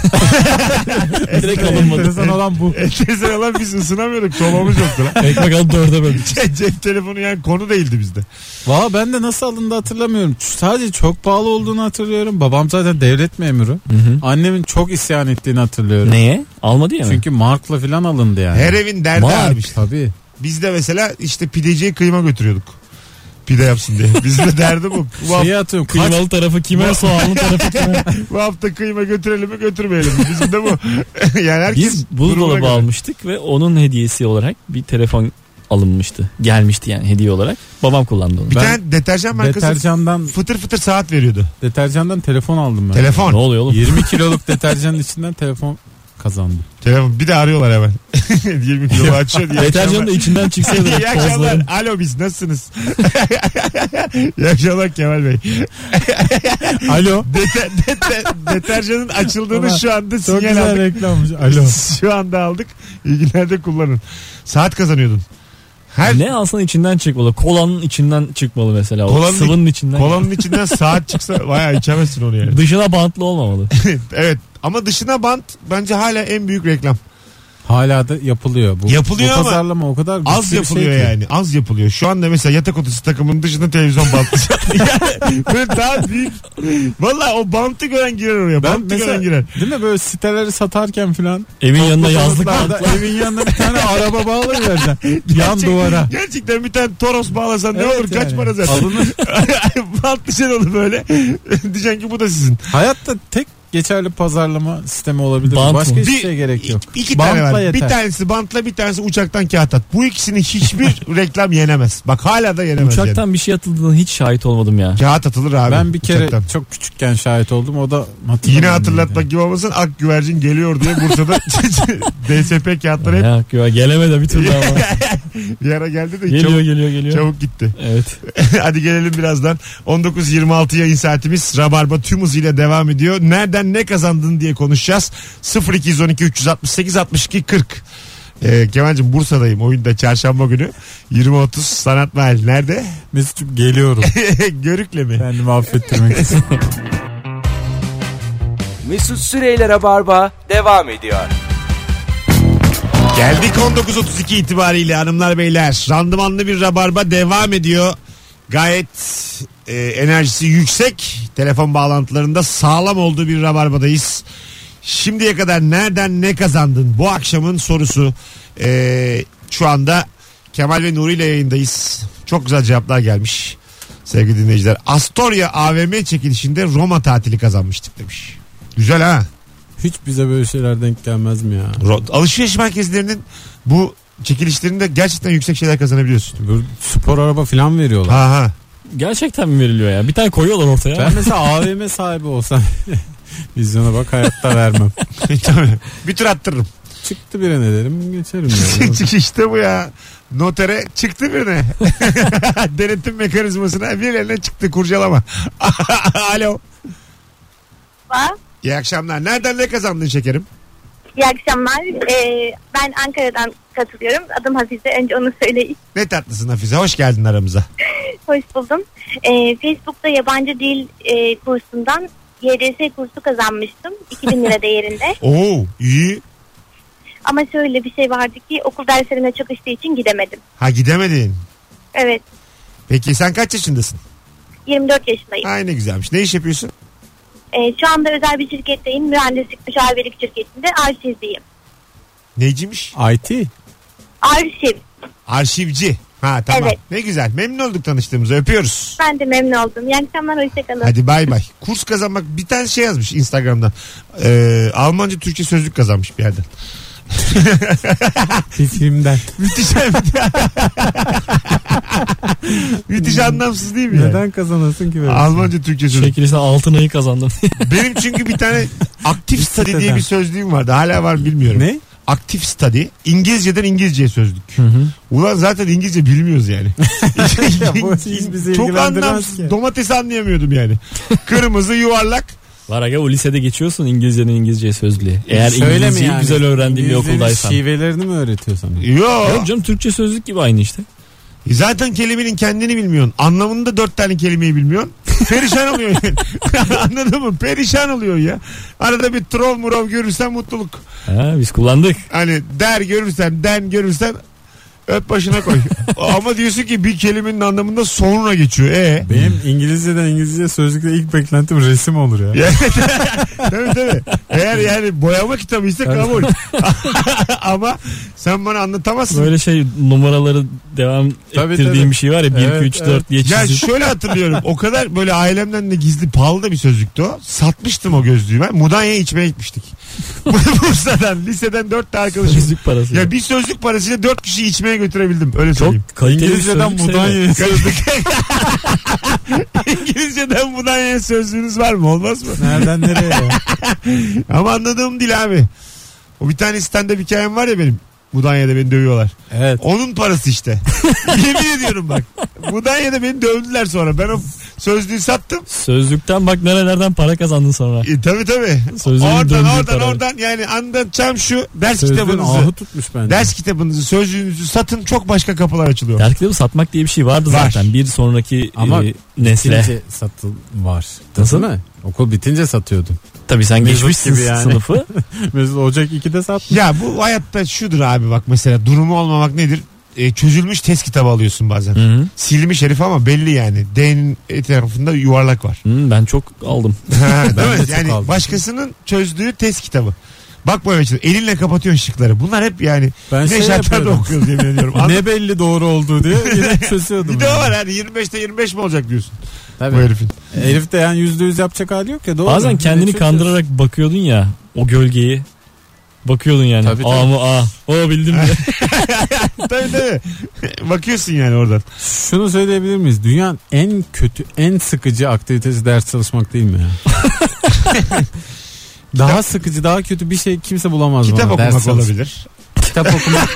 Speaker 4: Direkt alınmadı.
Speaker 3: Enteresan
Speaker 2: [LAUGHS]
Speaker 3: olan bu.
Speaker 2: Enteresan olan biz ısınamıyorduk. Sobamız yoktu lan. [LAUGHS]
Speaker 4: Ekmek alıp dörde böldük.
Speaker 2: Cep telefonu yani konu değildi bizde.
Speaker 3: Valla ben de nasıl alındı hatırlamıyorum. Sadece çok pahalı olduğunu hatırlıyorum. Babam zaten devlet memuru. Annemin çok isyan ettiğini hatırlıyorum.
Speaker 4: Neye? Almadı ya mı?
Speaker 3: Çünkü markla falan alındı yani.
Speaker 2: Her evin derdi
Speaker 3: Mark.
Speaker 2: abi işte.
Speaker 3: Tabii.
Speaker 2: Biz de mesela işte pideciye kıyma götürüyorduk. Pide yapsın diye. [LAUGHS] Bizim de derdi bu. Bu, haf-
Speaker 3: Şeyi atıyorum. Kaç
Speaker 4: Kıymalı tarafı kime, soğanlı tarafı kime?
Speaker 2: bu hafta kıyma götürelim mi götürmeyelim mi? Bizim de bu. [LAUGHS] yani herkes
Speaker 4: Biz
Speaker 2: durumuna
Speaker 4: buzdolabı
Speaker 2: göre.
Speaker 4: almıştık ve onun hediyesi olarak bir telefon alınmıştı. Gelmişti yani hediye olarak. Babam kullandı onu.
Speaker 2: Bir
Speaker 3: Ben-
Speaker 2: tane deterjan markası
Speaker 3: deterjandan
Speaker 2: fıtır fıtır saat veriyordu.
Speaker 3: deterjandan telefon aldım ben.
Speaker 2: Telefon.
Speaker 4: Ne oluyor oğlum?
Speaker 3: 20 kiloluk deterjanın içinden telefon kazandım.
Speaker 2: Telefon. Bir de arıyorlar hemen. [LAUGHS] 20 kilo açıyor diye.
Speaker 4: Deterjanın da
Speaker 2: [LAUGHS]
Speaker 4: içinden [LAUGHS] çıksaydı.
Speaker 2: İyi akşamlar.
Speaker 4: tozların.
Speaker 2: Alo biz nasılsınız? [LAUGHS] İyi akşamlar Kemal Bey.
Speaker 3: Alo.
Speaker 2: Dete- dete- deterjanın açıldığını
Speaker 3: Ama
Speaker 2: şu anda
Speaker 3: Çok
Speaker 2: sinyal
Speaker 3: güzel
Speaker 2: aldık.
Speaker 3: reklammış. Alo.
Speaker 2: Şu anda aldık. İyi günlerde kullanın. Saat kazanıyordun. Her
Speaker 4: Ne alsan içinden çıkmalı. Kolanın içinden çıkmalı mesela. O
Speaker 2: Kolanın-
Speaker 4: sıvının içinden.
Speaker 2: Kolanın içinden saat çıksa bayağı içemezsin onu yani.
Speaker 4: Dışına bantlı olmamalı.
Speaker 2: [LAUGHS] evet ama dışına bant bence hala en büyük reklam.
Speaker 3: Hala da yapılıyor bu.
Speaker 2: Yapılıyor
Speaker 3: bu
Speaker 2: ama
Speaker 3: pazarlama o kadar
Speaker 2: Az
Speaker 3: güçlü bir şey
Speaker 2: yapılıyor
Speaker 3: ki.
Speaker 2: yani az yapılıyor. Şu anda mesela yatak odası takımının dışında televizyon bantı. [LAUGHS] yani böyle daha büyük. Valla o bantı gören girer oraya.
Speaker 3: Ben
Speaker 2: bantı
Speaker 3: mesela
Speaker 2: gören girer.
Speaker 3: değil mi böyle siteleri satarken filan
Speaker 4: Evin yanında yazlık
Speaker 3: Kalıplarda
Speaker 4: bantlı.
Speaker 3: evin yanına bir tane araba
Speaker 4: [LAUGHS]
Speaker 3: bağlayıvereceksin. Yan
Speaker 2: Gerçek-
Speaker 3: duvara.
Speaker 2: Gerçekten bir tane toros bağlasan ne
Speaker 3: Evet
Speaker 2: olur kaç
Speaker 3: yani.
Speaker 2: para zaten.
Speaker 3: Alınır.
Speaker 2: [LAUGHS] Bant dışarı olur böyle. [LAUGHS] Diyeceksin ki bu da sizin.
Speaker 3: Hayatta tek geçerli pazarlama sistemi olabilir.
Speaker 4: Bant
Speaker 3: Başka
Speaker 4: mı?
Speaker 3: hiçbir
Speaker 2: Bir-
Speaker 3: şey gerek yok.
Speaker 2: İki, iki tane
Speaker 3: Bantla
Speaker 2: var. Bir
Speaker 3: yeter.
Speaker 2: tanesi bantla bir tanesi uçaktan kağıt at. Bu ikisini
Speaker 3: [LAUGHS]
Speaker 2: hiçbir reklam yenemez. Bak hala da yenemez. yani.
Speaker 4: Uçaktan bir şey atıldığına hiç şahit olmadım ya.
Speaker 2: Kağıt atılır abi.
Speaker 3: Ben bir kere [LAUGHS]
Speaker 2: uçaktan.
Speaker 3: çok küçükken şahit oldum. O da hatırlamıyorum.
Speaker 2: Yine hatırlatmak gibi olmasın ak güvercin geliyor diye
Speaker 3: [LAUGHS]
Speaker 2: Bursa'da [LAUGHS] DSP kağıtları hep
Speaker 4: Ya, ya gelemedi bir türlü ama.
Speaker 2: bir ara geldi de
Speaker 4: geliyor
Speaker 2: çabuk,
Speaker 4: geliyor geliyor.
Speaker 2: çabuk gitti.
Speaker 4: Evet.
Speaker 2: [LAUGHS] Hadi gelelim birazdan. 19.26 yayın saatimiz Rabarba tüm hızıyla devam ediyor. Nereden ne kazandın diye konuşacağız. 0212 368 62 40 Ee, Kemal'cim Bursa'dayım. Oyunda çarşamba günü 20.30 Sanat Mahal. Nerede? [LAUGHS]
Speaker 3: Mesut'cum geliyorum.
Speaker 4: [LAUGHS]
Speaker 2: Görükle mi?
Speaker 3: Kendimi affettirmek için.
Speaker 1: Mesut Süreyler'e barba devam ediyor.
Speaker 2: Geldik 19.32 itibariyle hanımlar beyler. Randımanlı bir rabarba devam ediyor. Gayet e, enerjisi yüksek. Telefon bağlantılarında sağlam olduğu bir rabarbadayız. Şimdiye kadar nereden ne kazandın? Bu akşamın sorusu. E, şu anda Kemal ve Nuri ile yayındayız. Çok güzel cevaplar gelmiş sevgili dinleyiciler. Astoria AVM çekilişinde Roma tatili kazanmıştık demiş. Güzel ha.
Speaker 3: Hiç bize böyle şeyler denk gelmez mi ya?
Speaker 2: Ro- Alışveriş merkezlerinin bu çekilişlerinde gerçekten yüksek şeyler kazanabiliyorsun.
Speaker 3: Böyle spor araba falan veriyorlar.
Speaker 2: Ha [LAUGHS] ha.
Speaker 4: Gerçekten mi veriliyor ya? Bir tane koyuyorlar ortaya.
Speaker 3: Ben mesela AVM sahibi olsam [LAUGHS] vizyona bak hayatta vermem.
Speaker 2: Tabii. Bir tur attırırım.
Speaker 3: Çıktı birine derim
Speaker 4: [LAUGHS]
Speaker 3: geçerim. Yani.
Speaker 2: Çık işte bu ya. Notere çıktı birine. [LAUGHS] Denetim mekanizmasına birilerine çıktı kurcalama. [LAUGHS] Alo.
Speaker 8: merhaba.
Speaker 2: İyi akşamlar. Nereden ne kazandın şekerim?
Speaker 8: İyi akşamlar. Ee, ben Ankara'dan katılıyorum. Adım Hafize. Önce onu söyleyeyim.
Speaker 2: Ne tatlısın Hafize. Hoş geldin aramıza.
Speaker 8: Hoş buldum. Ee, Facebook'ta yabancı dil e, kursundan YDS kursu kazanmıştım. 2000 lira değerinde.
Speaker 2: Oo iyi.
Speaker 8: Ama şöyle bir şey vardı ki okul derslerine çakıştığı için gidemedim.
Speaker 2: Ha gidemedin.
Speaker 8: Evet.
Speaker 2: Peki sen kaç yaşındasın?
Speaker 8: 24 yaşındayım.
Speaker 2: Ay ne güzelmiş. Ne iş yapıyorsun?
Speaker 8: Ee, şu anda özel bir şirketteyim. Mühendislik müşavirlik şirketinde arşivdeyim.
Speaker 2: Neyciymiş?
Speaker 3: IT.
Speaker 8: Arşiv.
Speaker 2: Arşivci. Ha tamam.
Speaker 8: Evet.
Speaker 2: Ne güzel. Memnun olduk tanıştığımıza. Öpüyoruz.
Speaker 8: Ben de memnun oldum. İyi akşamlar. Hoşçakalın.
Speaker 2: Hadi bay bay. Kurs kazanmak bir tane şey yazmış Instagram'dan. Ee, Almanca Türkçe sözlük kazanmış bir yerden.
Speaker 3: Fikrimden.
Speaker 2: Müthiş. Müthiş anlamsız değil mi? yani?
Speaker 3: Hmm. Neden kazanasın ki böyle?
Speaker 2: Almanca Türkçe sözlük.
Speaker 4: Çekilişten altın Şey
Speaker 3: [LAUGHS]
Speaker 4: ayı kazandım.
Speaker 2: Benim çünkü bir tane aktif study diye bir sözlüğüm vardı. Hala var bilmiyorum.
Speaker 3: Ne?
Speaker 2: Aktif study. İngilizceden İngilizceye sözlük. Ulan zaten İngilizce bilmiyoruz
Speaker 3: [LAUGHS]
Speaker 2: yani.
Speaker 3: Bu hiç bizi
Speaker 2: Çok
Speaker 3: ilgilendirmez
Speaker 2: anlamsız.
Speaker 3: ki.
Speaker 2: Domatesi anlayamıyordum yani. Kırmızı yuvarlak.
Speaker 4: Var aga o lisede geçiyorsun İngilizcenin İngilizceye sözlüğü. Eğer
Speaker 3: Söyle mi
Speaker 4: İngilizceyi
Speaker 3: yani?
Speaker 4: güzel öğrendiğin bir
Speaker 3: İngilizcenin şey-
Speaker 4: okuldaysan.
Speaker 3: şivelerini mi öğretiyor sana?
Speaker 2: Yo.
Speaker 4: Yok canım Türkçe sözlük gibi aynı işte.
Speaker 2: Zaten kelimenin kendini bilmiyorsun. Anlamında dört tane kelimeyi bilmiyorsun. Perişan oluyorsun. yani. [LAUGHS] Anladın mı? Perişan oluyorsun ya. Arada bir trol murov görürsen mutluluk.
Speaker 4: Ha, biz kullandık.
Speaker 2: Hani der görürsen, den görürsen öp başına koy. Ama diyorsun ki bir kelimenin anlamında sonra geçiyor. E.
Speaker 3: Benim İngilizceden İngilizce sözlükte ilk beklentim resim olur ya.
Speaker 2: Tabii tabii. Eğer yani boyama kitabıysa kabul. [LAUGHS] Ama sen bana anlatamazsın.
Speaker 4: Böyle şey numaraları devam
Speaker 3: Tabii,
Speaker 4: ettirdiğim
Speaker 3: tabii.
Speaker 4: bir şey var ya 1
Speaker 3: Evet,
Speaker 4: 2 3
Speaker 3: evet.
Speaker 4: 4 diye
Speaker 2: Ya
Speaker 4: çizip.
Speaker 2: şöyle hatırlıyorum. O kadar böyle ailemden de gizli pahalı da bir sözlüktü o. Satmıştım o gözlüğü ben. Mudanya'ya içmeye gitmiştik. [LAUGHS] Bursa'dan, liseden dört tane arkadaşım.
Speaker 4: [LAUGHS] Sözlük parası.
Speaker 2: Ya bir sözlük parasıyla dört kişi içmeye götürebildim. Öyle
Speaker 4: Çok
Speaker 2: söyleyeyim.
Speaker 4: kaliteli bir
Speaker 3: İngilizceden
Speaker 4: [LAUGHS] sözlük sayılır.
Speaker 3: Mudanya'ya
Speaker 2: [LAUGHS] İngilizceden Mudanya'ya sözlüğünüz var mı? Olmaz mı?
Speaker 3: Nereden nereye [LAUGHS] ya?
Speaker 2: Ama anladığım dil abi. O bir tane stand-up hikayem var ya benim. Mudanya'da beni dövüyorlar.
Speaker 3: Evet.
Speaker 2: Onun parası işte. [LAUGHS] Yemin ediyorum bak. Mudanya'da beni dövdüler sonra. Ben o sözlüğü sattım.
Speaker 4: Sözlükten bak nerelerden para kazandın sonra.
Speaker 2: E, tabii tabii.
Speaker 4: Sözlüğün
Speaker 2: oradan
Speaker 4: döndüğü
Speaker 2: oradan
Speaker 4: karar.
Speaker 2: oradan yani anlatacağım şu ders
Speaker 3: Sözlüğün
Speaker 2: kitabınızı.
Speaker 3: ahı tutmuş bence.
Speaker 2: Ders kitabınızı, sözlüğünüzü satın çok başka kapılar açılıyor.
Speaker 4: Ders kitabı satmak diye bir şey vardı
Speaker 2: Var.
Speaker 4: zaten. Bir sonraki
Speaker 3: Ama
Speaker 4: e, nesle.
Speaker 3: bitince satıl var. Nasıl mı? Okul bitince satıyordun.
Speaker 4: Tabii sen
Speaker 3: Mevzu
Speaker 4: geçmişsin
Speaker 3: gibi yani.
Speaker 4: sınıfı.
Speaker 3: Mesela Ocak 2'de sat.
Speaker 2: Ya bu hayatta şudur abi bak mesela durumu olmamak nedir? E, çözülmüş test kitabı alıyorsun bazen.
Speaker 4: Hı.
Speaker 2: Silmiş herif ama belli yani. D'nin etrafında yuvarlak var.
Speaker 4: Hı, Hmm, ben çok aldım.
Speaker 2: Ha, Değil
Speaker 3: [LAUGHS] Ben de
Speaker 2: mi?
Speaker 3: çok
Speaker 2: Yani
Speaker 3: aldım.
Speaker 2: başkasının çözdüğü test kitabı. Bak bu evet elinle kapatıyorsun şıkları. Bunlar hep yani
Speaker 3: Ben
Speaker 2: ne
Speaker 3: şey
Speaker 2: şartlarda
Speaker 3: yapıyordum.
Speaker 2: okuyoruz yemin ediyorum. Anladın mı?
Speaker 3: [LAUGHS] ne belli doğru olduğu [LAUGHS] diye yine çözüyordum.
Speaker 2: Bir de o
Speaker 3: yani.
Speaker 2: var yani 25'te 25 mi olacak diyorsun
Speaker 3: Tabii.
Speaker 2: bu herifin.
Speaker 3: Herif de yani yüzde yüz yapacak hali yok ya. Doğru.
Speaker 4: Bazen
Speaker 3: Yine
Speaker 4: kendini
Speaker 3: çözüyorsun.
Speaker 4: kandırarak bakıyordun ya o gölgeyi. Bakıyordun yani.
Speaker 3: Tabii,
Speaker 4: Aa
Speaker 3: tabii.
Speaker 4: mı aa. O bildim diye.
Speaker 2: tabii tabii. Bakıyorsun yani oradan.
Speaker 3: Şunu söyleyebilir miyiz? Dünyanın en kötü, en sıkıcı aktivitesi ders çalışmak değil mi ya? [LAUGHS] daha sıkıcı, daha kötü bir şey kimse bulamaz
Speaker 2: Kitap
Speaker 3: bana.
Speaker 2: okumak
Speaker 3: Ders çalış-
Speaker 2: olabilir.
Speaker 3: Kitap
Speaker 2: [LAUGHS]
Speaker 3: okumak,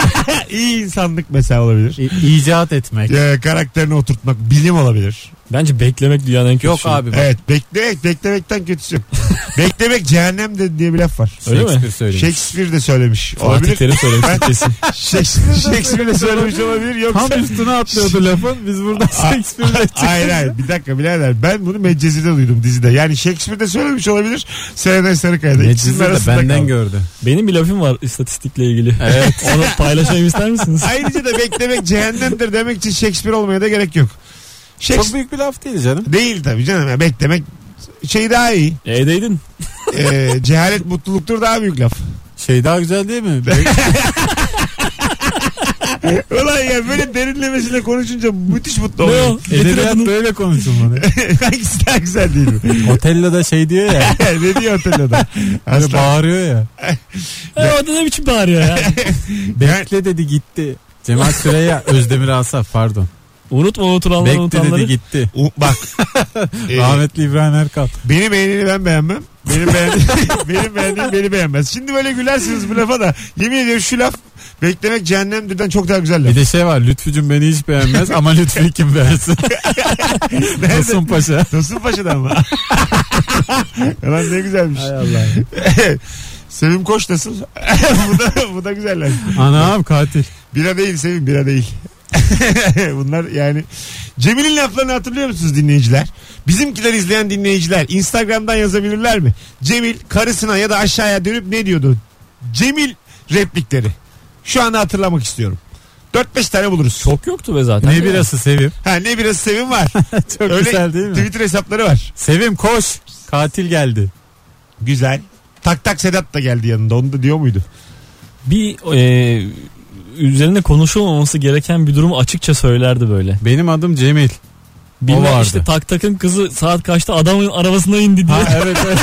Speaker 2: İyi insanlık mesela olabilir.
Speaker 3: i- icat etmek.
Speaker 2: Ee, karakterini oturtmak bilim olabilir.
Speaker 4: Bence beklemek dünyanın en kötü şey.
Speaker 3: Yok
Speaker 4: şeyi.
Speaker 3: abi
Speaker 4: [LAUGHS]
Speaker 3: bak.
Speaker 2: Evet beklemek beklemekten kötüsü. yok. Beklemek cehennem de diye bir laf var.
Speaker 4: Öyle mi?
Speaker 3: Shakespeare söylemiş.
Speaker 2: Shakespeare de söylemiş.
Speaker 4: Fatih
Speaker 2: Olabilir.
Speaker 4: Terim söylemişti kesin.
Speaker 2: [LAUGHS] Shakespeare, Shakespeare de söylemiş olabilir. Yoksa
Speaker 3: [LAUGHS] Tam üstüne
Speaker 4: [LAUGHS]
Speaker 3: atlıyordu lafın. Biz burada Shakespeare'de
Speaker 2: [LAUGHS] Hayır hayır bir dakika birader ben bunu Medcezi'de duydum dizide. Yani Shakespeare de söylemiş olabilir. Serenay Sarıkaya'da.
Speaker 3: Neciz'i
Speaker 2: İkisinin
Speaker 3: de
Speaker 2: arasında
Speaker 3: benden
Speaker 2: kaldı.
Speaker 3: gördü.
Speaker 4: Benim bir lafım var istatistikle ilgili. Evet. [LAUGHS] Onu paylaşayım ister
Speaker 3: [LAUGHS]
Speaker 4: misiniz?
Speaker 2: Ayrıca da beklemek cehennemdir demek için Shakespeare olmaya da gerek yok.
Speaker 3: Çok
Speaker 2: Shakespeare
Speaker 3: büyük bir laf değil canım.
Speaker 2: değil tabii canım. Yani beklemek şey daha iyi.
Speaker 4: E'deydin.
Speaker 2: Ee, cehalet mutluluktur daha büyük laf.
Speaker 3: Şey daha güzel değil mi?
Speaker 2: Ulan ya böyle derinlemesine konuşunca müthiş mutlu
Speaker 4: Ne
Speaker 2: oluyorum.
Speaker 4: o?
Speaker 3: Edebiyat
Speaker 4: Edebiyatın-
Speaker 3: böyle konuşulmalı.
Speaker 2: [LAUGHS] Hangisi daha güzel değil mi?
Speaker 3: Otello'da şey diyor ya.
Speaker 2: ne diyor Otello'da?
Speaker 3: Hani
Speaker 2: Aslan.
Speaker 3: bağırıyor ya.
Speaker 4: [LAUGHS] E, orada ne biçim
Speaker 3: [LAUGHS]
Speaker 4: bağırıyor ya?
Speaker 3: Bekle dedi gitti. Cemal Süreya Özdemir Asaf pardon.
Speaker 4: Unutma unutulanları
Speaker 3: Bekle dedi
Speaker 4: unutanları.
Speaker 3: gitti.
Speaker 2: U-
Speaker 3: [LAUGHS]
Speaker 2: Bak. Ee,
Speaker 3: Rahmetli İbrahim Erkal.
Speaker 2: Benim beğeneni ben beğenmem. Benim beğendiğim, [LAUGHS] benim beğendiğim beni beğenmez. Şimdi böyle gülersiniz bu lafa da. Yemin ediyorum şu laf beklemek cehennemdirden çok daha güzel laf.
Speaker 3: Bir de şey var Lütfücüm beni hiç beğenmez [LAUGHS] ama Lütfi kim beğensin? Tosun Paşa.
Speaker 2: Tosun Paşa'dan
Speaker 3: [LAUGHS]
Speaker 2: mı? Lan ne güzelmiş.
Speaker 3: Allah.
Speaker 2: [LAUGHS] Sevim Koç nasıl? [LAUGHS] bu, da, bu da güzel laf.
Speaker 3: Anam katil.
Speaker 2: Bira değil Sevim bira değil. [LAUGHS] Bunlar yani Cemil'in laflarını hatırlıyor musunuz dinleyiciler? Bizimkiler izleyen dinleyiciler Instagram'dan yazabilirler mi? Cemil karısına ya da aşağıya dönüp ne diyordu? Cemil replikleri. Şu anda hatırlamak istiyorum. 4-5 tane buluruz.
Speaker 4: Çok yoktu be zaten.
Speaker 3: Ne birası Sevim.
Speaker 2: Ha ne biraz Sevim var.
Speaker 3: [LAUGHS] Çok
Speaker 2: Öyle
Speaker 3: güzel değil mi?
Speaker 2: Twitter hesapları var.
Speaker 3: Sevim koş. Katil geldi.
Speaker 2: Güzel. Tak tak Sedat da geldi yanında. Onu da diyor muydu?
Speaker 4: Bir e, üzerinde konuşulmaması gereken bir durumu açıkça söylerdi böyle.
Speaker 3: Benim adım Cemil. o
Speaker 4: Bilmem
Speaker 3: vardı.
Speaker 4: işte tak takın kızı saat kaçta adamın arabasına indi
Speaker 3: [LAUGHS]
Speaker 4: diye.
Speaker 3: Ha
Speaker 4: [LAUGHS]
Speaker 3: evet evet.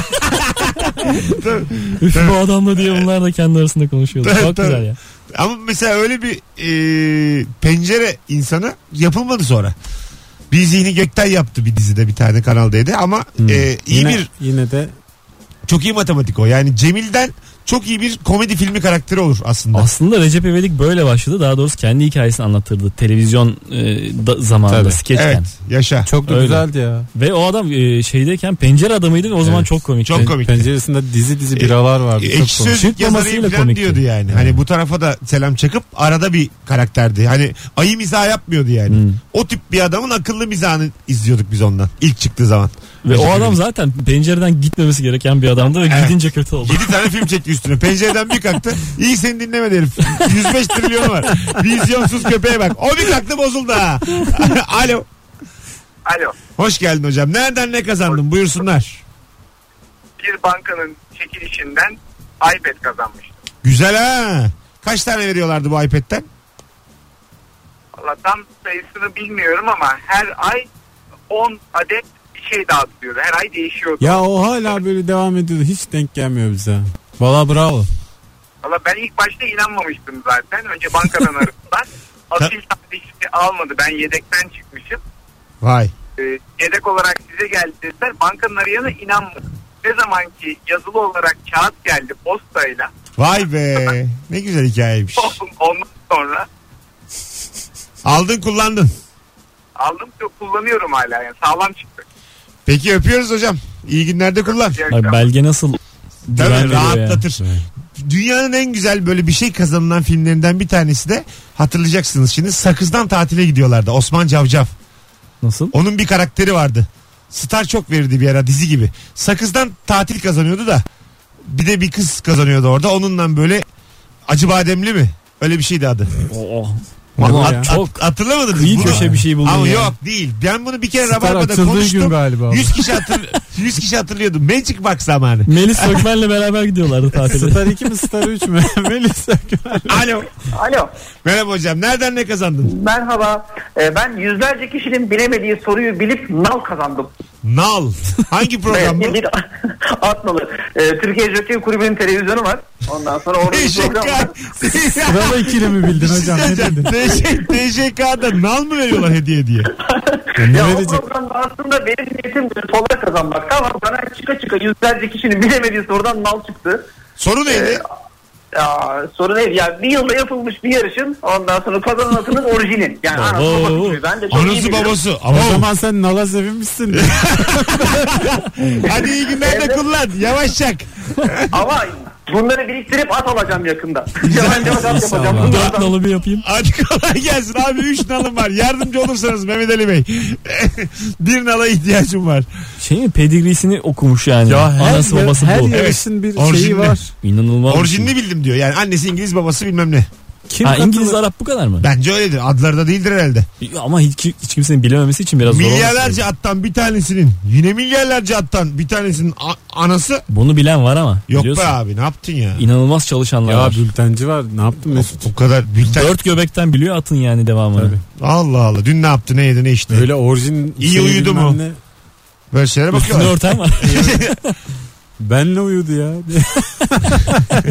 Speaker 4: Üf bu adamla diye bunlar da kendi arasında konuşuyordu.
Speaker 2: Evet,
Speaker 4: Çok güzel
Speaker 2: tabii.
Speaker 4: ya.
Speaker 2: Ama mesela öyle bir e, pencere insanı yapılmadı sonra. Bir zihni gökten yaptı bir dizide bir tane kanaldaydı ama e, iyi
Speaker 3: Hmm. yine,
Speaker 2: bir
Speaker 3: Yine de
Speaker 2: çok iyi matematik o. Yani Cemil'den çok iyi bir komedi filmi karakteri olur aslında.
Speaker 4: Aslında Recep İvedik böyle başladı. Daha doğrusu kendi hikayesini anlatırdı. Televizyon e, da- zamanında
Speaker 3: Tabii.
Speaker 4: skeçten.
Speaker 2: evet yaşa.
Speaker 3: çok da
Speaker 4: Öyle.
Speaker 3: güzeldi ya.
Speaker 4: Ve o adam e, şeydeyken pencere adamıydı ve o zaman
Speaker 3: Evet.
Speaker 4: çok komikti.
Speaker 2: Çok komik.
Speaker 3: Penceresinde dizi dizi biralar vardı.
Speaker 2: E,
Speaker 3: Çok
Speaker 2: Ekşi
Speaker 3: komik.
Speaker 2: sözlük
Speaker 4: Çıkmamasıyla
Speaker 2: yazarıyım falan
Speaker 4: komikti.
Speaker 2: diyordu yani. Hani bu tarafa da selam çakıp arada bir karakterdi. Hani ayı mizah yapmıyordu yani.
Speaker 4: Hmm.
Speaker 2: O tip bir adamın akıllı mizahını izliyorduk biz ondan ilk çıktığı zaman.
Speaker 4: Ve o adam zaten pencereden gitmemesi gereken bir adamdı ve
Speaker 2: Evet.
Speaker 4: gidince kötü oldu.
Speaker 2: 7 tane film çekti üstüne. Pencereden bir kalktı. İyi seni dinlemedi herif. 105 trilyonu var. Vizyonsuz köpeğe bak. O bir kalktı bozuldu ha. [LAUGHS] Alo.
Speaker 9: Alo.
Speaker 2: Hoş geldin hocam. Nereden ne kazandın? Buyursunlar.
Speaker 9: Bir bankanın çekilişinden iPad kazanmıştım.
Speaker 2: Güzel ha. Kaç tane veriyorlardı bu iPad'ten?
Speaker 9: Valla tam sayısını bilmiyorum ama her ay 10 adet bir şey dağıtılıyordu. Her ay değişiyordu.
Speaker 3: Ya o hala böyle devam ediyordu. Hiç denk gelmiyor bize. Valla bravo.
Speaker 9: Valla ben ilk başta inanmamıştım zaten. Önce bankadan aradılar. Asil tadisi almadı. Ben yedekten çıkmışım.
Speaker 2: Vay.
Speaker 9: Ee, yedek olarak size geldi dediler. Bankanın arayana inanmadım. Ne zaman ki yazılı olarak kağıt geldi postayla. [LAUGHS]
Speaker 2: Vay be. Ne güzel hikayeymiş.
Speaker 9: Ondan sonra
Speaker 2: Aldın kullandın.
Speaker 9: aldım. Çok kullanıyorum hala. Yani sağlam çıktı.
Speaker 2: Peki öpüyoruz hocam. İyi günlerde kullan.
Speaker 9: İyi
Speaker 4: Ay,
Speaker 9: akşamlar.
Speaker 4: belge nasıl güven
Speaker 2: Tabii
Speaker 4: veriyor ya.
Speaker 2: rahatlatır. Dünyanın en güzel böyle bir şey kazanılan filmlerinden bir tanesi de hatırlayacaksınız şimdi. Sakız'dan tatile gidiyorlardı. Osman Cavcav.
Speaker 4: Nasıl?
Speaker 2: Onun bir karakteri vardı. Star çok verirdi bir ara dizi gibi. Sakızdan tatil kazanıyordu da bir de bir kız kazanıyordu orada. Onunla böyle acı bademli mi? Öyle bir şeydi adı.
Speaker 4: Oo.
Speaker 2: Hat-
Speaker 3: ya.
Speaker 2: hat-
Speaker 4: Çok
Speaker 2: hatırlamadınız
Speaker 4: iyi
Speaker 2: bunu.
Speaker 4: köşe bir şey buldun
Speaker 2: Ama
Speaker 4: ya.
Speaker 2: yok değil. Ben bunu bir kere
Speaker 3: Star
Speaker 2: Rabarba'da
Speaker 3: atıldığı gün
Speaker 2: konuştum.
Speaker 3: galiba.
Speaker 2: 100 kişi, hatır, [LAUGHS] 100 kişi hatırlıyordu. Magic Box zamanı.
Speaker 4: [LAUGHS] Melis Sökmen'le beraber gidiyorlardı tatile.
Speaker 3: Star 2 mi Star 3 mü? [LAUGHS] Melis Akgün.
Speaker 2: Alo.
Speaker 10: Alo
Speaker 2: Merhaba hocam. Nereden ne kazandın?
Speaker 10: merhaba Ee, ben yüzlerce kişinin bilemediği soruyu bilip nal kazandım.
Speaker 2: Nal. Hangi program bu?
Speaker 10: [LAUGHS] Evet, bir Atmalı. Ee, Türkiye Jockey Kulübü'nün televizyonu var. Ondan
Speaker 2: [LAUGHS]
Speaker 10: sonra orada bir program var.
Speaker 2: Teşekkür.
Speaker 3: Bravo ikili mi bildin hocam? Ne bildin?
Speaker 2: TJK'da nal mı veriyorlar hediye diye?
Speaker 3: Ne
Speaker 10: Ya o
Speaker 3: verecek?
Speaker 10: programda aslında benim niyetim bir sola kazanmakta ama bana çıka çıka yüzlerce kişinin bilemediği sorudan nal çıktı. Ee,
Speaker 2: Soru neydi?
Speaker 10: Aa, sorun değil. Yani bir yılda yapılmış bir yarışın ondan
Speaker 2: [LAUGHS]
Speaker 10: sonra kazananının orijini. Yani anası
Speaker 3: Oo.
Speaker 10: babası gibi. Ben de çok iyi
Speaker 2: Anası
Speaker 10: biliyorum.
Speaker 2: babası.
Speaker 3: O
Speaker 2: Ama
Speaker 3: zaman sen
Speaker 2: [LAUGHS]
Speaker 3: nala sevinmişsin.
Speaker 2: hadi iyi günler de
Speaker 10: Evet.
Speaker 2: kullan. Yavaş çak.
Speaker 10: Ama bunları biriktirip at alacağım yakında.
Speaker 3: Güzel.
Speaker 10: Yavaş yavaş at yapacağım.
Speaker 3: İnşallah.
Speaker 10: Bunlardan-
Speaker 4: Dört nalı bir yapayım.
Speaker 2: Hadi kolay gelsin abi. Üç nalım var. Yardımcı olursanız Mehmet Ali Bey. [LAUGHS] bir nala ihtiyacım var.
Speaker 4: Şey mi pedigrisini okumuş yani.
Speaker 3: Ya her,
Speaker 4: Anası
Speaker 3: yer-
Speaker 4: babası
Speaker 3: her
Speaker 4: bu.
Speaker 3: yarışın bir
Speaker 2: Orijinli.
Speaker 3: şeyi var.
Speaker 4: İnanılmaz. bir şey.
Speaker 2: Orijinini bildim diyor. Yani annesi İngiliz babası bilmem ne.
Speaker 3: Kim
Speaker 4: Ha, İngiliz
Speaker 3: katılır?
Speaker 4: Arap bu kadar mı?
Speaker 2: Bence öyledir. Adları da değildir herhalde.
Speaker 4: Ama hiç, hiç kimsenin bilememesi için biraz zor olması lazım.
Speaker 2: milyarlarca attan bir tanesinin yine milyarlarca attan bir tanesinin a- anası
Speaker 4: Bunu bilen var ama.
Speaker 2: yok
Speaker 4: biliyorsun.
Speaker 2: be abi ne yaptın ya?
Speaker 4: İnanılmaz çalışanlar
Speaker 3: Ya
Speaker 4: var.
Speaker 3: bültenci var. Ne yaptın Mesut?
Speaker 2: O kadar bülten.
Speaker 4: Dört göbekten biliyor atın yani devamını.
Speaker 3: Tabii.
Speaker 2: Allah Allah. Dün ne yaptı ne yedi ne içti.
Speaker 3: Öyle orijin
Speaker 2: İyi
Speaker 3: şeyi
Speaker 2: uyudu
Speaker 3: bilmem
Speaker 2: mu?
Speaker 3: ne.
Speaker 2: Böyle şeylere
Speaker 4: Üstünde
Speaker 2: bakıyorlar.
Speaker 4: örten [LAUGHS] var.
Speaker 3: Benle
Speaker 2: [LAUGHS]
Speaker 3: uyudu ya.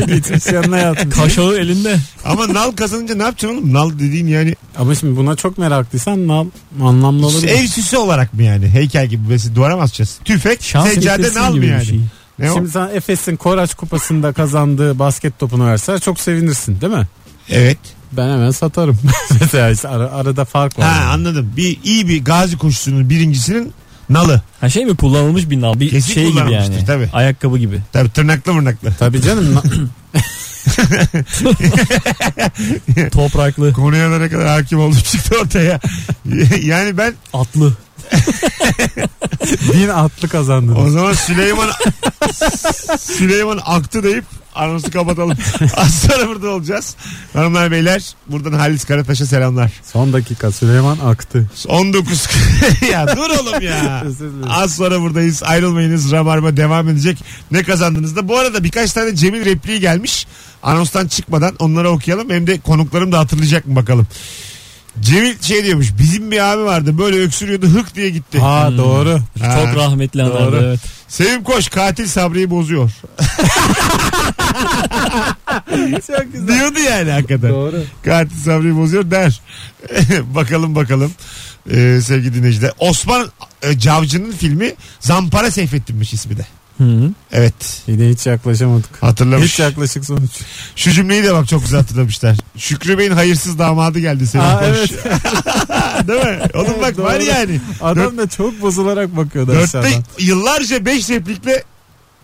Speaker 3: Gitmiş yanına yatmış.
Speaker 4: Kaşağı elinde.
Speaker 2: Ama nal kazanınca ne yapacaksın oğlum? Nal dediğin yani
Speaker 3: Ama şimdi buna çok meraklıysan nal anlamlı olur. mu?
Speaker 2: ev süsü olarak mı yani? Heykel gibi mesela duvara mı asacağız? Tüfek,
Speaker 4: Şans
Speaker 2: seccade
Speaker 4: getirsin
Speaker 2: nal mı
Speaker 4: gibi bir
Speaker 2: yani?
Speaker 4: şey.
Speaker 2: Ne o?
Speaker 3: Şimdi sen Efes'in Koraç Kupası'nda kazandığı basket topunu verseler çok sevinirsin değil mi?
Speaker 2: Evet.
Speaker 3: Ben hemen satarım. [LAUGHS] Mesela işte ara- arada fark var.
Speaker 2: Ha anladım. Bir iyi bir gazi koşusunun birincisinin nalı.
Speaker 4: Ha şey mi kullanılmış bir nal. Bir
Speaker 2: Kesin
Speaker 4: şey gibi
Speaker 2: kullanılmıştır,
Speaker 4: yani.
Speaker 2: tabii.
Speaker 3: [LAUGHS]
Speaker 4: Ayakkabı gibi.
Speaker 2: Tabii tırnaklı mırnaklı.
Speaker 3: Tabii canım.
Speaker 2: [LAUGHS]
Speaker 4: Topraklı,
Speaker 2: Konuya da ne kadar hakim oldum çıktı ortaya. [LAUGHS] yani ben
Speaker 4: atlı.
Speaker 3: Din atlı kazandı.
Speaker 2: O zaman Süleyman [LAUGHS] Süleyman aktı deyip anonsu [LAUGHS] kapatalım. Az sonra burada olacağız. Hanımlar beyler buradan Halis Karataş'a selamlar.
Speaker 3: Son dakika Süleyman aktı.
Speaker 2: 19 [LAUGHS] ya dur oğlum ya.
Speaker 3: [LAUGHS] Özür dilerim.
Speaker 2: Az sonra buradayız ayrılmayınız Rabarba devam edecek. Ne kazandınız da bu arada birkaç tane Cemil repliği gelmiş. Anonstan çıkmadan onları okuyalım hem de konuklarım da hatırlayacak mı bakalım. Cemil şey diyormuş bizim bir abi vardı böyle öksürüyordu hık diye gitti.
Speaker 3: Ha doğru.
Speaker 2: Ha.
Speaker 4: Çok rahmetli anlardı
Speaker 3: Doğru.
Speaker 4: evet.
Speaker 2: Sevim Koş katil Sabri'yi bozuyor.
Speaker 3: Çok güzel.
Speaker 2: Diyordu yani hakikaten.
Speaker 3: Doğru.
Speaker 2: Katil Sabri'yi bozuyor der. [LAUGHS] bakalım bakalım ee, sevgili dinleyiciler. Osman e, Cavcı'nın filmi Zampara Seyfettin'miş ismi de.
Speaker 4: Hı.
Speaker 2: Evet
Speaker 3: Yine hiç yaklaşamadık.
Speaker 2: hatırlamış.
Speaker 3: Hiç yaklaşık sonuç.
Speaker 2: Şu cümleyi de bak çok güzel hatırlamışlar. Şükrü Bey'in hayırsız damadı geldi Sevim
Speaker 3: Aa,
Speaker 2: Koç. [LAUGHS] Değil mi? Oğlum
Speaker 3: Evet,
Speaker 2: bak
Speaker 3: [LAUGHS] doğru.
Speaker 2: var yani.
Speaker 3: Adam da çok bozularak bakıyordu
Speaker 2: Dörtte
Speaker 3: aşağıdan.
Speaker 2: yıllarca beş replikle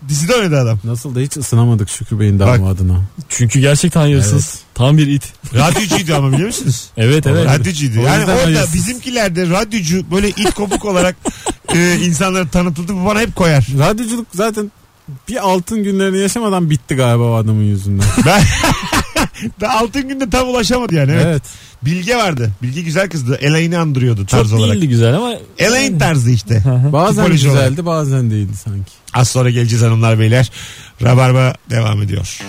Speaker 2: dizide oynadı adam.
Speaker 3: Nasıl da hiç ısınamadık Şükrü Bey'in damadına.
Speaker 4: Çünkü gerçekten hayırsız. Tam bir it.
Speaker 2: Radyocuydu ama biliyor musunuz?
Speaker 4: Evet evet.
Speaker 2: Radyocuydu.
Speaker 3: O
Speaker 2: Yani
Speaker 3: yüzden
Speaker 2: orada
Speaker 3: hayırsız.
Speaker 2: bizimkilerde radyocu böyle it kopuk olarak e, insanlara tanıtıldı. Bu bana hep koyar.
Speaker 3: Radyoculuk zaten bir altın günlerini yaşamadan bitti galiba o adamın yüzünden.
Speaker 2: [LAUGHS] Da altın günde tam ulaşamadı yani. Evet.
Speaker 3: [LAUGHS] evet.
Speaker 2: Bilge vardı. Bilge güzel kızdı. Elaine'i andırıyordu
Speaker 4: Çok
Speaker 2: tarz olarak.
Speaker 4: değildi güzel ama.
Speaker 2: Elaine tarzı işte.
Speaker 3: Bazen
Speaker 2: Tipoloji olarak.
Speaker 3: güzeldi bazen değildi sanki.
Speaker 2: Az sonra geleceğiz hanımlar beyler. Rabarba devam ediyor.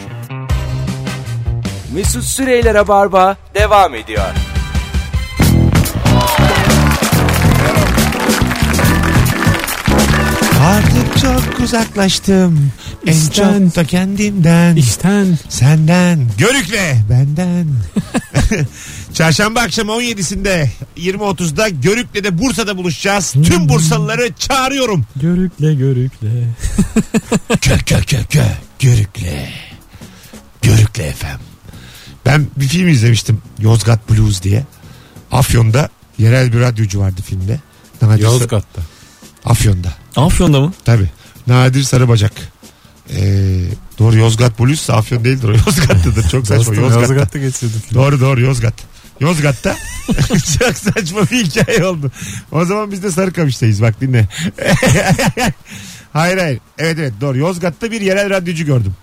Speaker 1: Mesut Süreyler'e barba devam ediyor.
Speaker 2: Artık çok uzaklaştım.
Speaker 3: İşten.
Speaker 2: En çok da kendimden.
Speaker 3: İşten
Speaker 2: Senden. Görükle. Benden. [LAUGHS] Çarşamba akşamı 17'sinde 20.30'da Görükle'de Bursa'da buluşacağız. Tüm Bursalıları çağırıyorum.
Speaker 4: Görükle görükle.
Speaker 2: Kö kö kö kö. Görükle. Görükle efendim. Ben bir film izlemiştim. Yozgat Blues diye. Afyon'da yerel bir radyocu vardı filmde. Nadir Sarı-
Speaker 3: Yozgat'ta.
Speaker 2: Afyon'da.
Speaker 4: Afyon'da mı?
Speaker 2: Tabi. Nadir Sarıbacak. Ee, doğru Yozgat Blues Afyon değildir o [LAUGHS] Yozgat'tadır. Çok saçma
Speaker 3: Dostum,
Speaker 2: Yozgat'ta.
Speaker 3: Yozgat'ta geçirdi.
Speaker 2: Doğru doğru Yozgat. Yozgat'ta [LAUGHS] çok saçma bir hikaye oldu. O zaman biz de Sarıkamış'tayız bak dinle. [LAUGHS] hayır hayır. Evet evet doğru. Yozgat'ta bir yerel radyocu gördüm.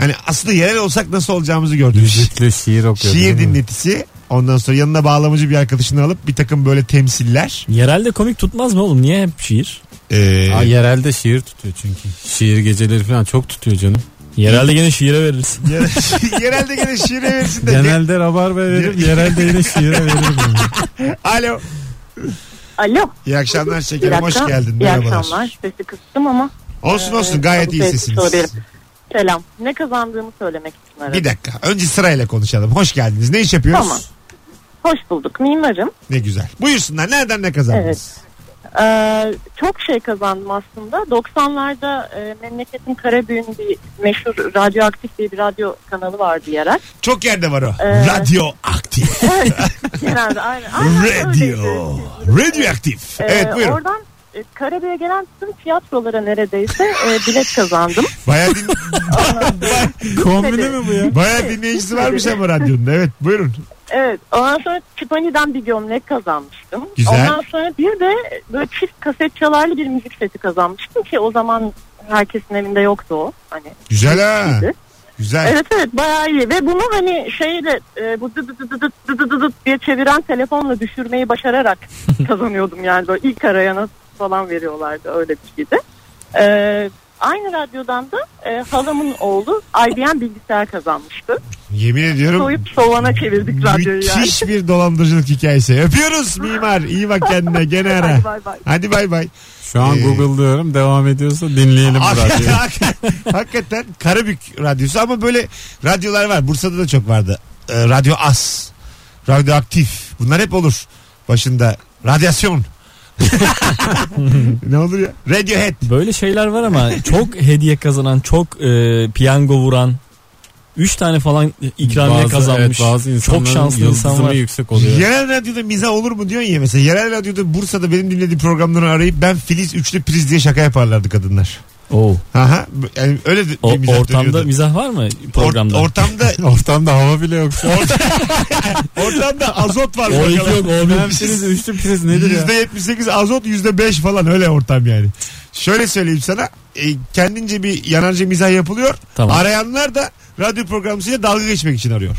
Speaker 2: Yani aslında yerel olsak nasıl olacağımızı gördüm.
Speaker 3: Müzikle şiir okuyordu.
Speaker 2: Şiir
Speaker 3: değil mi?
Speaker 2: dinletisi. Ondan sonra yanına bağlamacı bir arkadaşını alıp bir takım böyle temsiller.
Speaker 4: Yerelde komik tutmaz mı oğlum? Niye hep şiir?
Speaker 2: Ee,
Speaker 3: [LAUGHS] Aa, yerelde şiir tutuyor çünkü. Şiir geceleri falan çok tutuyor canım.
Speaker 4: Yerelde gene şiire veririz.
Speaker 2: yere- [LAUGHS] yerelde gene şiire versin de.
Speaker 3: Genelde
Speaker 2: [LAUGHS]
Speaker 3: rabarba veririm, yerelde yine şiire veririm. yani.
Speaker 2: Alo.
Speaker 6: Alo.
Speaker 2: İyi akşamlar
Speaker 6: Bir
Speaker 2: şekerim. Hoş
Speaker 6: dakika.
Speaker 2: geldin.
Speaker 6: İyi
Speaker 2: Merhabalar.
Speaker 6: akşamlar. Sesi kıstım ama.
Speaker 2: Olsun olsun
Speaker 6: e,
Speaker 2: gayet iyi
Speaker 6: sesi
Speaker 2: sesiniz.
Speaker 6: söylerim. Selam. Ne kazandığımı söylemek için aradım.
Speaker 2: Bir dakika. Önce sırayla konuşalım. Hoş geldiniz. Ne iş yapıyoruz?
Speaker 6: Tamam. Hoş bulduk. Mimarım.
Speaker 2: Ne güzel. Buyursunlar. Nereden ne kazandınız?
Speaker 11: Ee, çok şey kazandım aslında. 90'larda e, memleketin Karabüğün bir meşhur radyoaktif diye bir radyo kanalı vardı yerel.
Speaker 2: Çok yerde var o.
Speaker 11: Ee, [LAUGHS]
Speaker 2: Radyoaktif. [LAUGHS]
Speaker 11: Genelde aynen. aynen öyleydi.
Speaker 2: Radio. Radyoaktif.
Speaker 11: Ee,
Speaker 2: Evet buyurun.
Speaker 11: Oradan e, Karabüğe gelen tüm tiyatrolara neredeyse e, bilet kazandım.
Speaker 2: [LAUGHS] Bayağı, din...
Speaker 3: Kombine mi bu ya?
Speaker 2: Bayağı dinleyicisi varmış ama radyonun. Evet buyurun.
Speaker 11: Evet. Ondan sonra Tiffany'den bir gömlek kazanmıştım.
Speaker 2: Güzel.
Speaker 11: Ondan sonra bir de böyle çift kaset çalarlı bir müzik seti kazanmıştım ki o zaman herkesin evinde yoktu o. Hani.
Speaker 2: Güzel ha. Güzel.
Speaker 11: Evet evet bayağı iyi ve bunu hani şeyle e, bu dı dı dı dı dı dı dı dı dı diye çeviren telefonla düşürmeyi başararak kazanıyordum yani böyle ilk arayana falan veriyorlardı öyle bir şeydi. E, aynı radyodan da e, halamın oğlu IBM bilgisayar kazanmıştı.
Speaker 2: Yemin ediyorum
Speaker 11: Soyup sovana çevirdik radyoyu yani.
Speaker 2: müthiş bir dolandırıcılık hikayesi. Öpüyoruz mimar. İyi bak kendine. Gene ara.
Speaker 11: Hadi bay bay.
Speaker 2: Hadi bay bay.
Speaker 3: Şu an
Speaker 2: Ee,
Speaker 3: Google diyorum devam ediyorsa dinleyelim bu radyoyu.
Speaker 2: [LAUGHS]
Speaker 3: [LAUGHS]
Speaker 2: Hakikaten Karabük radyosu ama böyle radyolar var. Bursa'da da çok vardı. Ee, radyo As, Radyo Aktif. Bunlar hep olur. Başında radyasyon. ne olur ya? Radiohead.
Speaker 4: Böyle şeyler var ama çok hediye kazanan, çok e, piyango vuran, 3 tane falan ikramiye
Speaker 3: Bazı-
Speaker 4: kazanmış.
Speaker 3: evet, bazı
Speaker 4: çok
Speaker 3: insanların
Speaker 4: şanslı insan
Speaker 3: yıldızımı
Speaker 4: var.
Speaker 3: yüksek oluyor.
Speaker 2: Yerel radyoda miza olur mu diyorsun ya mesela. Yerel radyoda Bursa'da benim dinlediğim programları arayıp ben Filiz Üçlü Priz diye şaka yaparlardı kadınlar.
Speaker 4: Oo.
Speaker 2: Aha, yani öyle de-
Speaker 4: O,
Speaker 2: bir mizah
Speaker 4: ortamda
Speaker 2: dönüyordu.
Speaker 4: mizah var mı
Speaker 2: Or-
Speaker 4: programda?
Speaker 2: ortamda
Speaker 3: Ortamda hava bile yok şu an.
Speaker 2: ortamda azot var.
Speaker 4: O iki yok, o bir.
Speaker 3: Ben priz, üçlü priz nedir ya?
Speaker 2: %78 azot %5 falan öyle ortam yani. Şöyle söyleyeyim sana. e, kendince bir yanarcı mizah yapılıyor.
Speaker 4: Tamam.
Speaker 2: Arayanlar da radyo programcısıyla dalga geçmek için arıyor.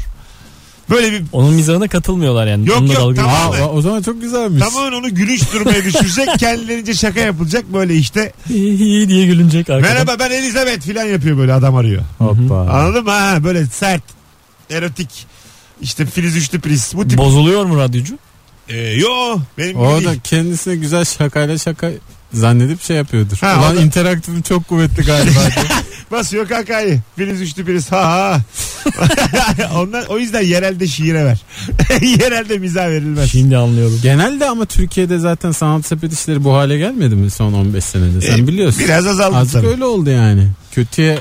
Speaker 2: Böyle bir
Speaker 4: Onun mizahına katılmıyorlar yani.
Speaker 2: Yok,
Speaker 4: Onunla
Speaker 2: yok,
Speaker 4: dalga
Speaker 2: tamam.
Speaker 3: Aa, o- o zaman çok güzelmiş.
Speaker 2: tamamen onu gülünç durmaya düşürecek.
Speaker 4: [LAUGHS]
Speaker 2: kendilerince şaka yapılacak böyle işte.
Speaker 4: iyi diye gülünecek arkadan.
Speaker 2: Merhaba ben Elizabeth falan yapıyor böyle adam arıyor.
Speaker 3: Hoppa.
Speaker 2: Anladın mı? Ha, böyle sert, erotik. İşte Filiz Üçlü Priz. Bu tip.
Speaker 4: Bozuluyor mu radyocu?
Speaker 2: Ee, yo benim gibi
Speaker 3: O da
Speaker 2: değil.
Speaker 3: kendisine güzel şakayla şaka zannedip şey yapıyordur.
Speaker 2: Ha,
Speaker 3: Ulan
Speaker 2: o da-
Speaker 3: interaktifim çok kuvvetli
Speaker 2: [LAUGHS]
Speaker 3: galiba.
Speaker 2: Basıyor kakayı. Filiz Üçlü Priz. Ha ha. [LAUGHS] Onlar, o yüzden yerelde şiire ver. [LAUGHS] yerelde mizah verilmez.
Speaker 4: Şimdi anlıyorum.
Speaker 3: Genelde ama Türkiye'de zaten sanat sepet işleri bu hale gelmedi mi son 15 senede? Sen
Speaker 2: Ee,
Speaker 3: biliyorsun.
Speaker 2: Biraz azaldı
Speaker 3: Azıcık
Speaker 2: tabii.
Speaker 3: öyle oldu yani. Kötüye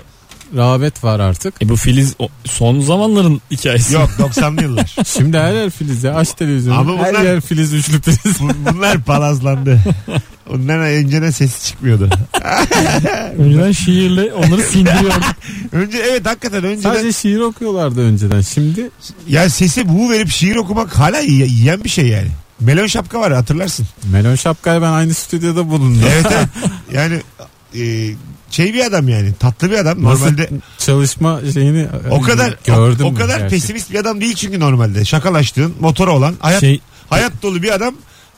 Speaker 3: rağbet var artık.
Speaker 4: E bu Filiz o- son zamanların hikayesi.
Speaker 2: Yok 90'lı
Speaker 3: [LAUGHS]
Speaker 2: yıllar.
Speaker 3: Şimdi her yer Filiz ya. Aç televizyonu.
Speaker 2: Ama
Speaker 3: her
Speaker 2: bunlar-
Speaker 3: yer Filiz üçlü Filiz.
Speaker 2: Bu- Bunlar palazlandı. Ondan önceden sesi çıkmıyordu.
Speaker 4: Önceden
Speaker 2: [LAUGHS]
Speaker 4: şiirle onları sindiriyor.
Speaker 2: Önce evet hakikaten önceden
Speaker 3: Sadece şiir okuyorlardı önceden. Şimdi
Speaker 2: ya sesi bu verip şiir okumak hala y- yiyen bir şey yani. Melon şapka var hatırlarsın.
Speaker 3: Melon Şapka'yla ben aynı stüdyoda bulundum.
Speaker 2: Evet evet. Yani e, şey bir adam yani tatlı bir adam.
Speaker 3: Nasıl Ee,
Speaker 2: Normalde
Speaker 3: çalışma şeyini
Speaker 2: o kadar
Speaker 3: gördüm.
Speaker 2: o, o kadar pesimist bir adam değil çünkü normalde. Şakalaştığın, motora olan, hayat
Speaker 4: şey
Speaker 2: hayat dolu bir adam.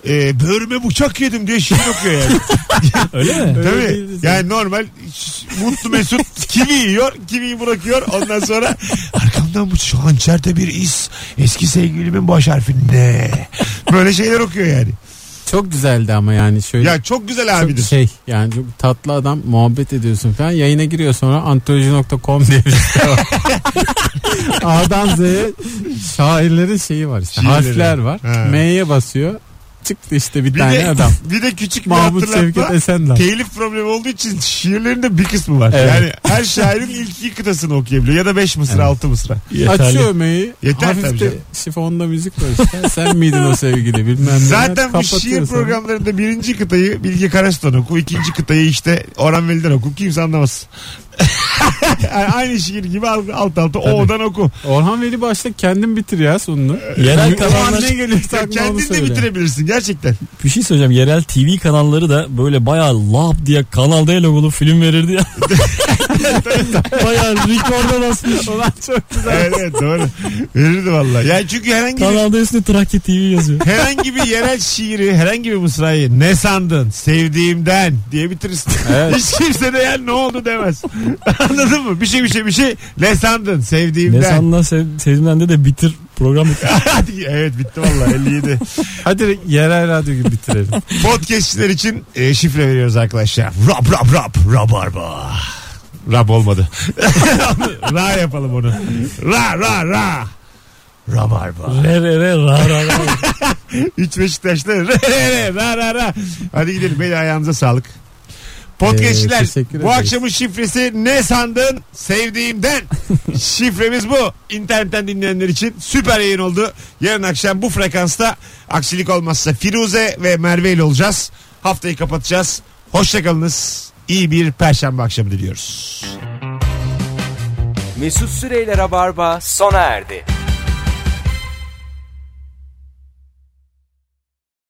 Speaker 2: E, böğrüme bıçak yedim diye şiir okuyor
Speaker 3: [LAUGHS]
Speaker 2: yani.
Speaker 4: öyle mi?
Speaker 3: Öyle
Speaker 2: Tabii.
Speaker 3: değiliz
Speaker 2: Yani normal ş- mutlu mesut kimi yiyor, kimi bırakıyor. Ondan sonra arkamdan bu şu hançerde bir iz. Eski sevgilimin baş harfinde. Böyle şeyler okuyor yani.
Speaker 3: Çok güzeldi ama yani şöyle.
Speaker 2: Ya çok güzel
Speaker 3: çok
Speaker 2: abidir.
Speaker 3: şey yani çok tatlı adam muhabbet ediyorsun falan yayına giriyor sonra antoloji.com diye bir site var. [LAUGHS] A'dan Z'ye şairlerin şeyi var işte
Speaker 2: Şiirleri.
Speaker 3: harfler var
Speaker 2: Ha.
Speaker 3: M'ye basıyor çıktı işte bir,
Speaker 2: Bir
Speaker 3: tane
Speaker 2: de,
Speaker 3: adam
Speaker 2: bir de küçük [LAUGHS] bir
Speaker 3: Mahmut Sevket
Speaker 2: hatırlatma.
Speaker 3: Esenler
Speaker 2: Telif problemi olduğu için şiirlerinde bir kısmı var.
Speaker 4: Evet.
Speaker 2: Yani her şairin ilk iki kıtasını okuyabiliyor. Ya da beş mısra, altı mısra.
Speaker 4: Yeterli.
Speaker 3: açıyor M'yi
Speaker 2: Yeter tabii
Speaker 3: hafif de
Speaker 2: canım.
Speaker 3: şifonda müzik var işte sen miydin o sevgili bilmem ne
Speaker 2: Zaten bu
Speaker 3: Kapatıyor
Speaker 2: şiir
Speaker 3: sonra.
Speaker 2: programlarında birinci kıtayı Bilge Karas'tan oku, ikinci kıtayı işte Orhan Veli'den oku. Kimse
Speaker 3: [LAUGHS]
Speaker 2: anlamaz. Yani aynı şiir gibi alt alt alta O'dan oku.
Speaker 3: Orhan Veli başta kendin bitir ya sonunu
Speaker 4: Yerel
Speaker 3: O an
Speaker 4: kanallar
Speaker 3: ne geliyorsa
Speaker 2: Ya
Speaker 3: aklına
Speaker 2: kendin
Speaker 3: onu
Speaker 2: de
Speaker 3: söyle.
Speaker 2: bitirebilirsin gerçekten.
Speaker 4: bir şey söyleyeceğim. Yerel TV kanalları da böyle bayağı lap diye kanalda el logolu film verirdi ya. bayağı rekorda basmış.
Speaker 3: Ulan çok
Speaker 2: evet, evet doğru. Verirdi valla. Yani çünkü herhangi bir,
Speaker 4: Kanalda üstüne Trakya TV yazıyor.
Speaker 2: herhangi bir yerel şiiri, herhangi bir mısrayı ne sandın? Sevdiğimden diye bitirirsin.
Speaker 3: Evet.
Speaker 2: Hiç kimse de yani ne oldu demez. [LAUGHS] Anladın mı? Bir şey bir şey bir şey. Ne sandın?
Speaker 4: ne
Speaker 2: Sevdiğimden. [LAUGHS]
Speaker 4: sandın sev, sevdiğimden de de bitir program bitir.
Speaker 2: evet bitti valla 57.
Speaker 3: Hadi yerel radyo gibi bitirelim.
Speaker 2: Podcastçiler için e, şifre veriyoruz arkadaşlar. Rab rab rab rabarba. [LAUGHS] Rab olmadı. ra yapalım onu. Ra ra ra. Rabarba.
Speaker 4: Re re re ra ra ra.
Speaker 2: [LAUGHS] Üç Beşiktaşlı. Re re re ra ra ra. Hadi gidelim. Beni ayağınıza sağlık.
Speaker 3: Ee,
Speaker 2: Podcastçiler
Speaker 3: teşekkür
Speaker 2: bu
Speaker 3: ederiz.
Speaker 2: akşamın şifresi ne sandın?
Speaker 3: [LAUGHS]
Speaker 2: Sevdiğimden. Şifremiz bu. İnternetten dinleyenler için süper yayın oldu. Yarın akşam bu frekansta aksilik olmazsa Firuze ve Merve ile olacağız. Haftayı kapatacağız. Hoşçakalınız. İyi bir perşembe akşamı diliyoruz.
Speaker 1: Mesut Süreyler'e barba sona erdi.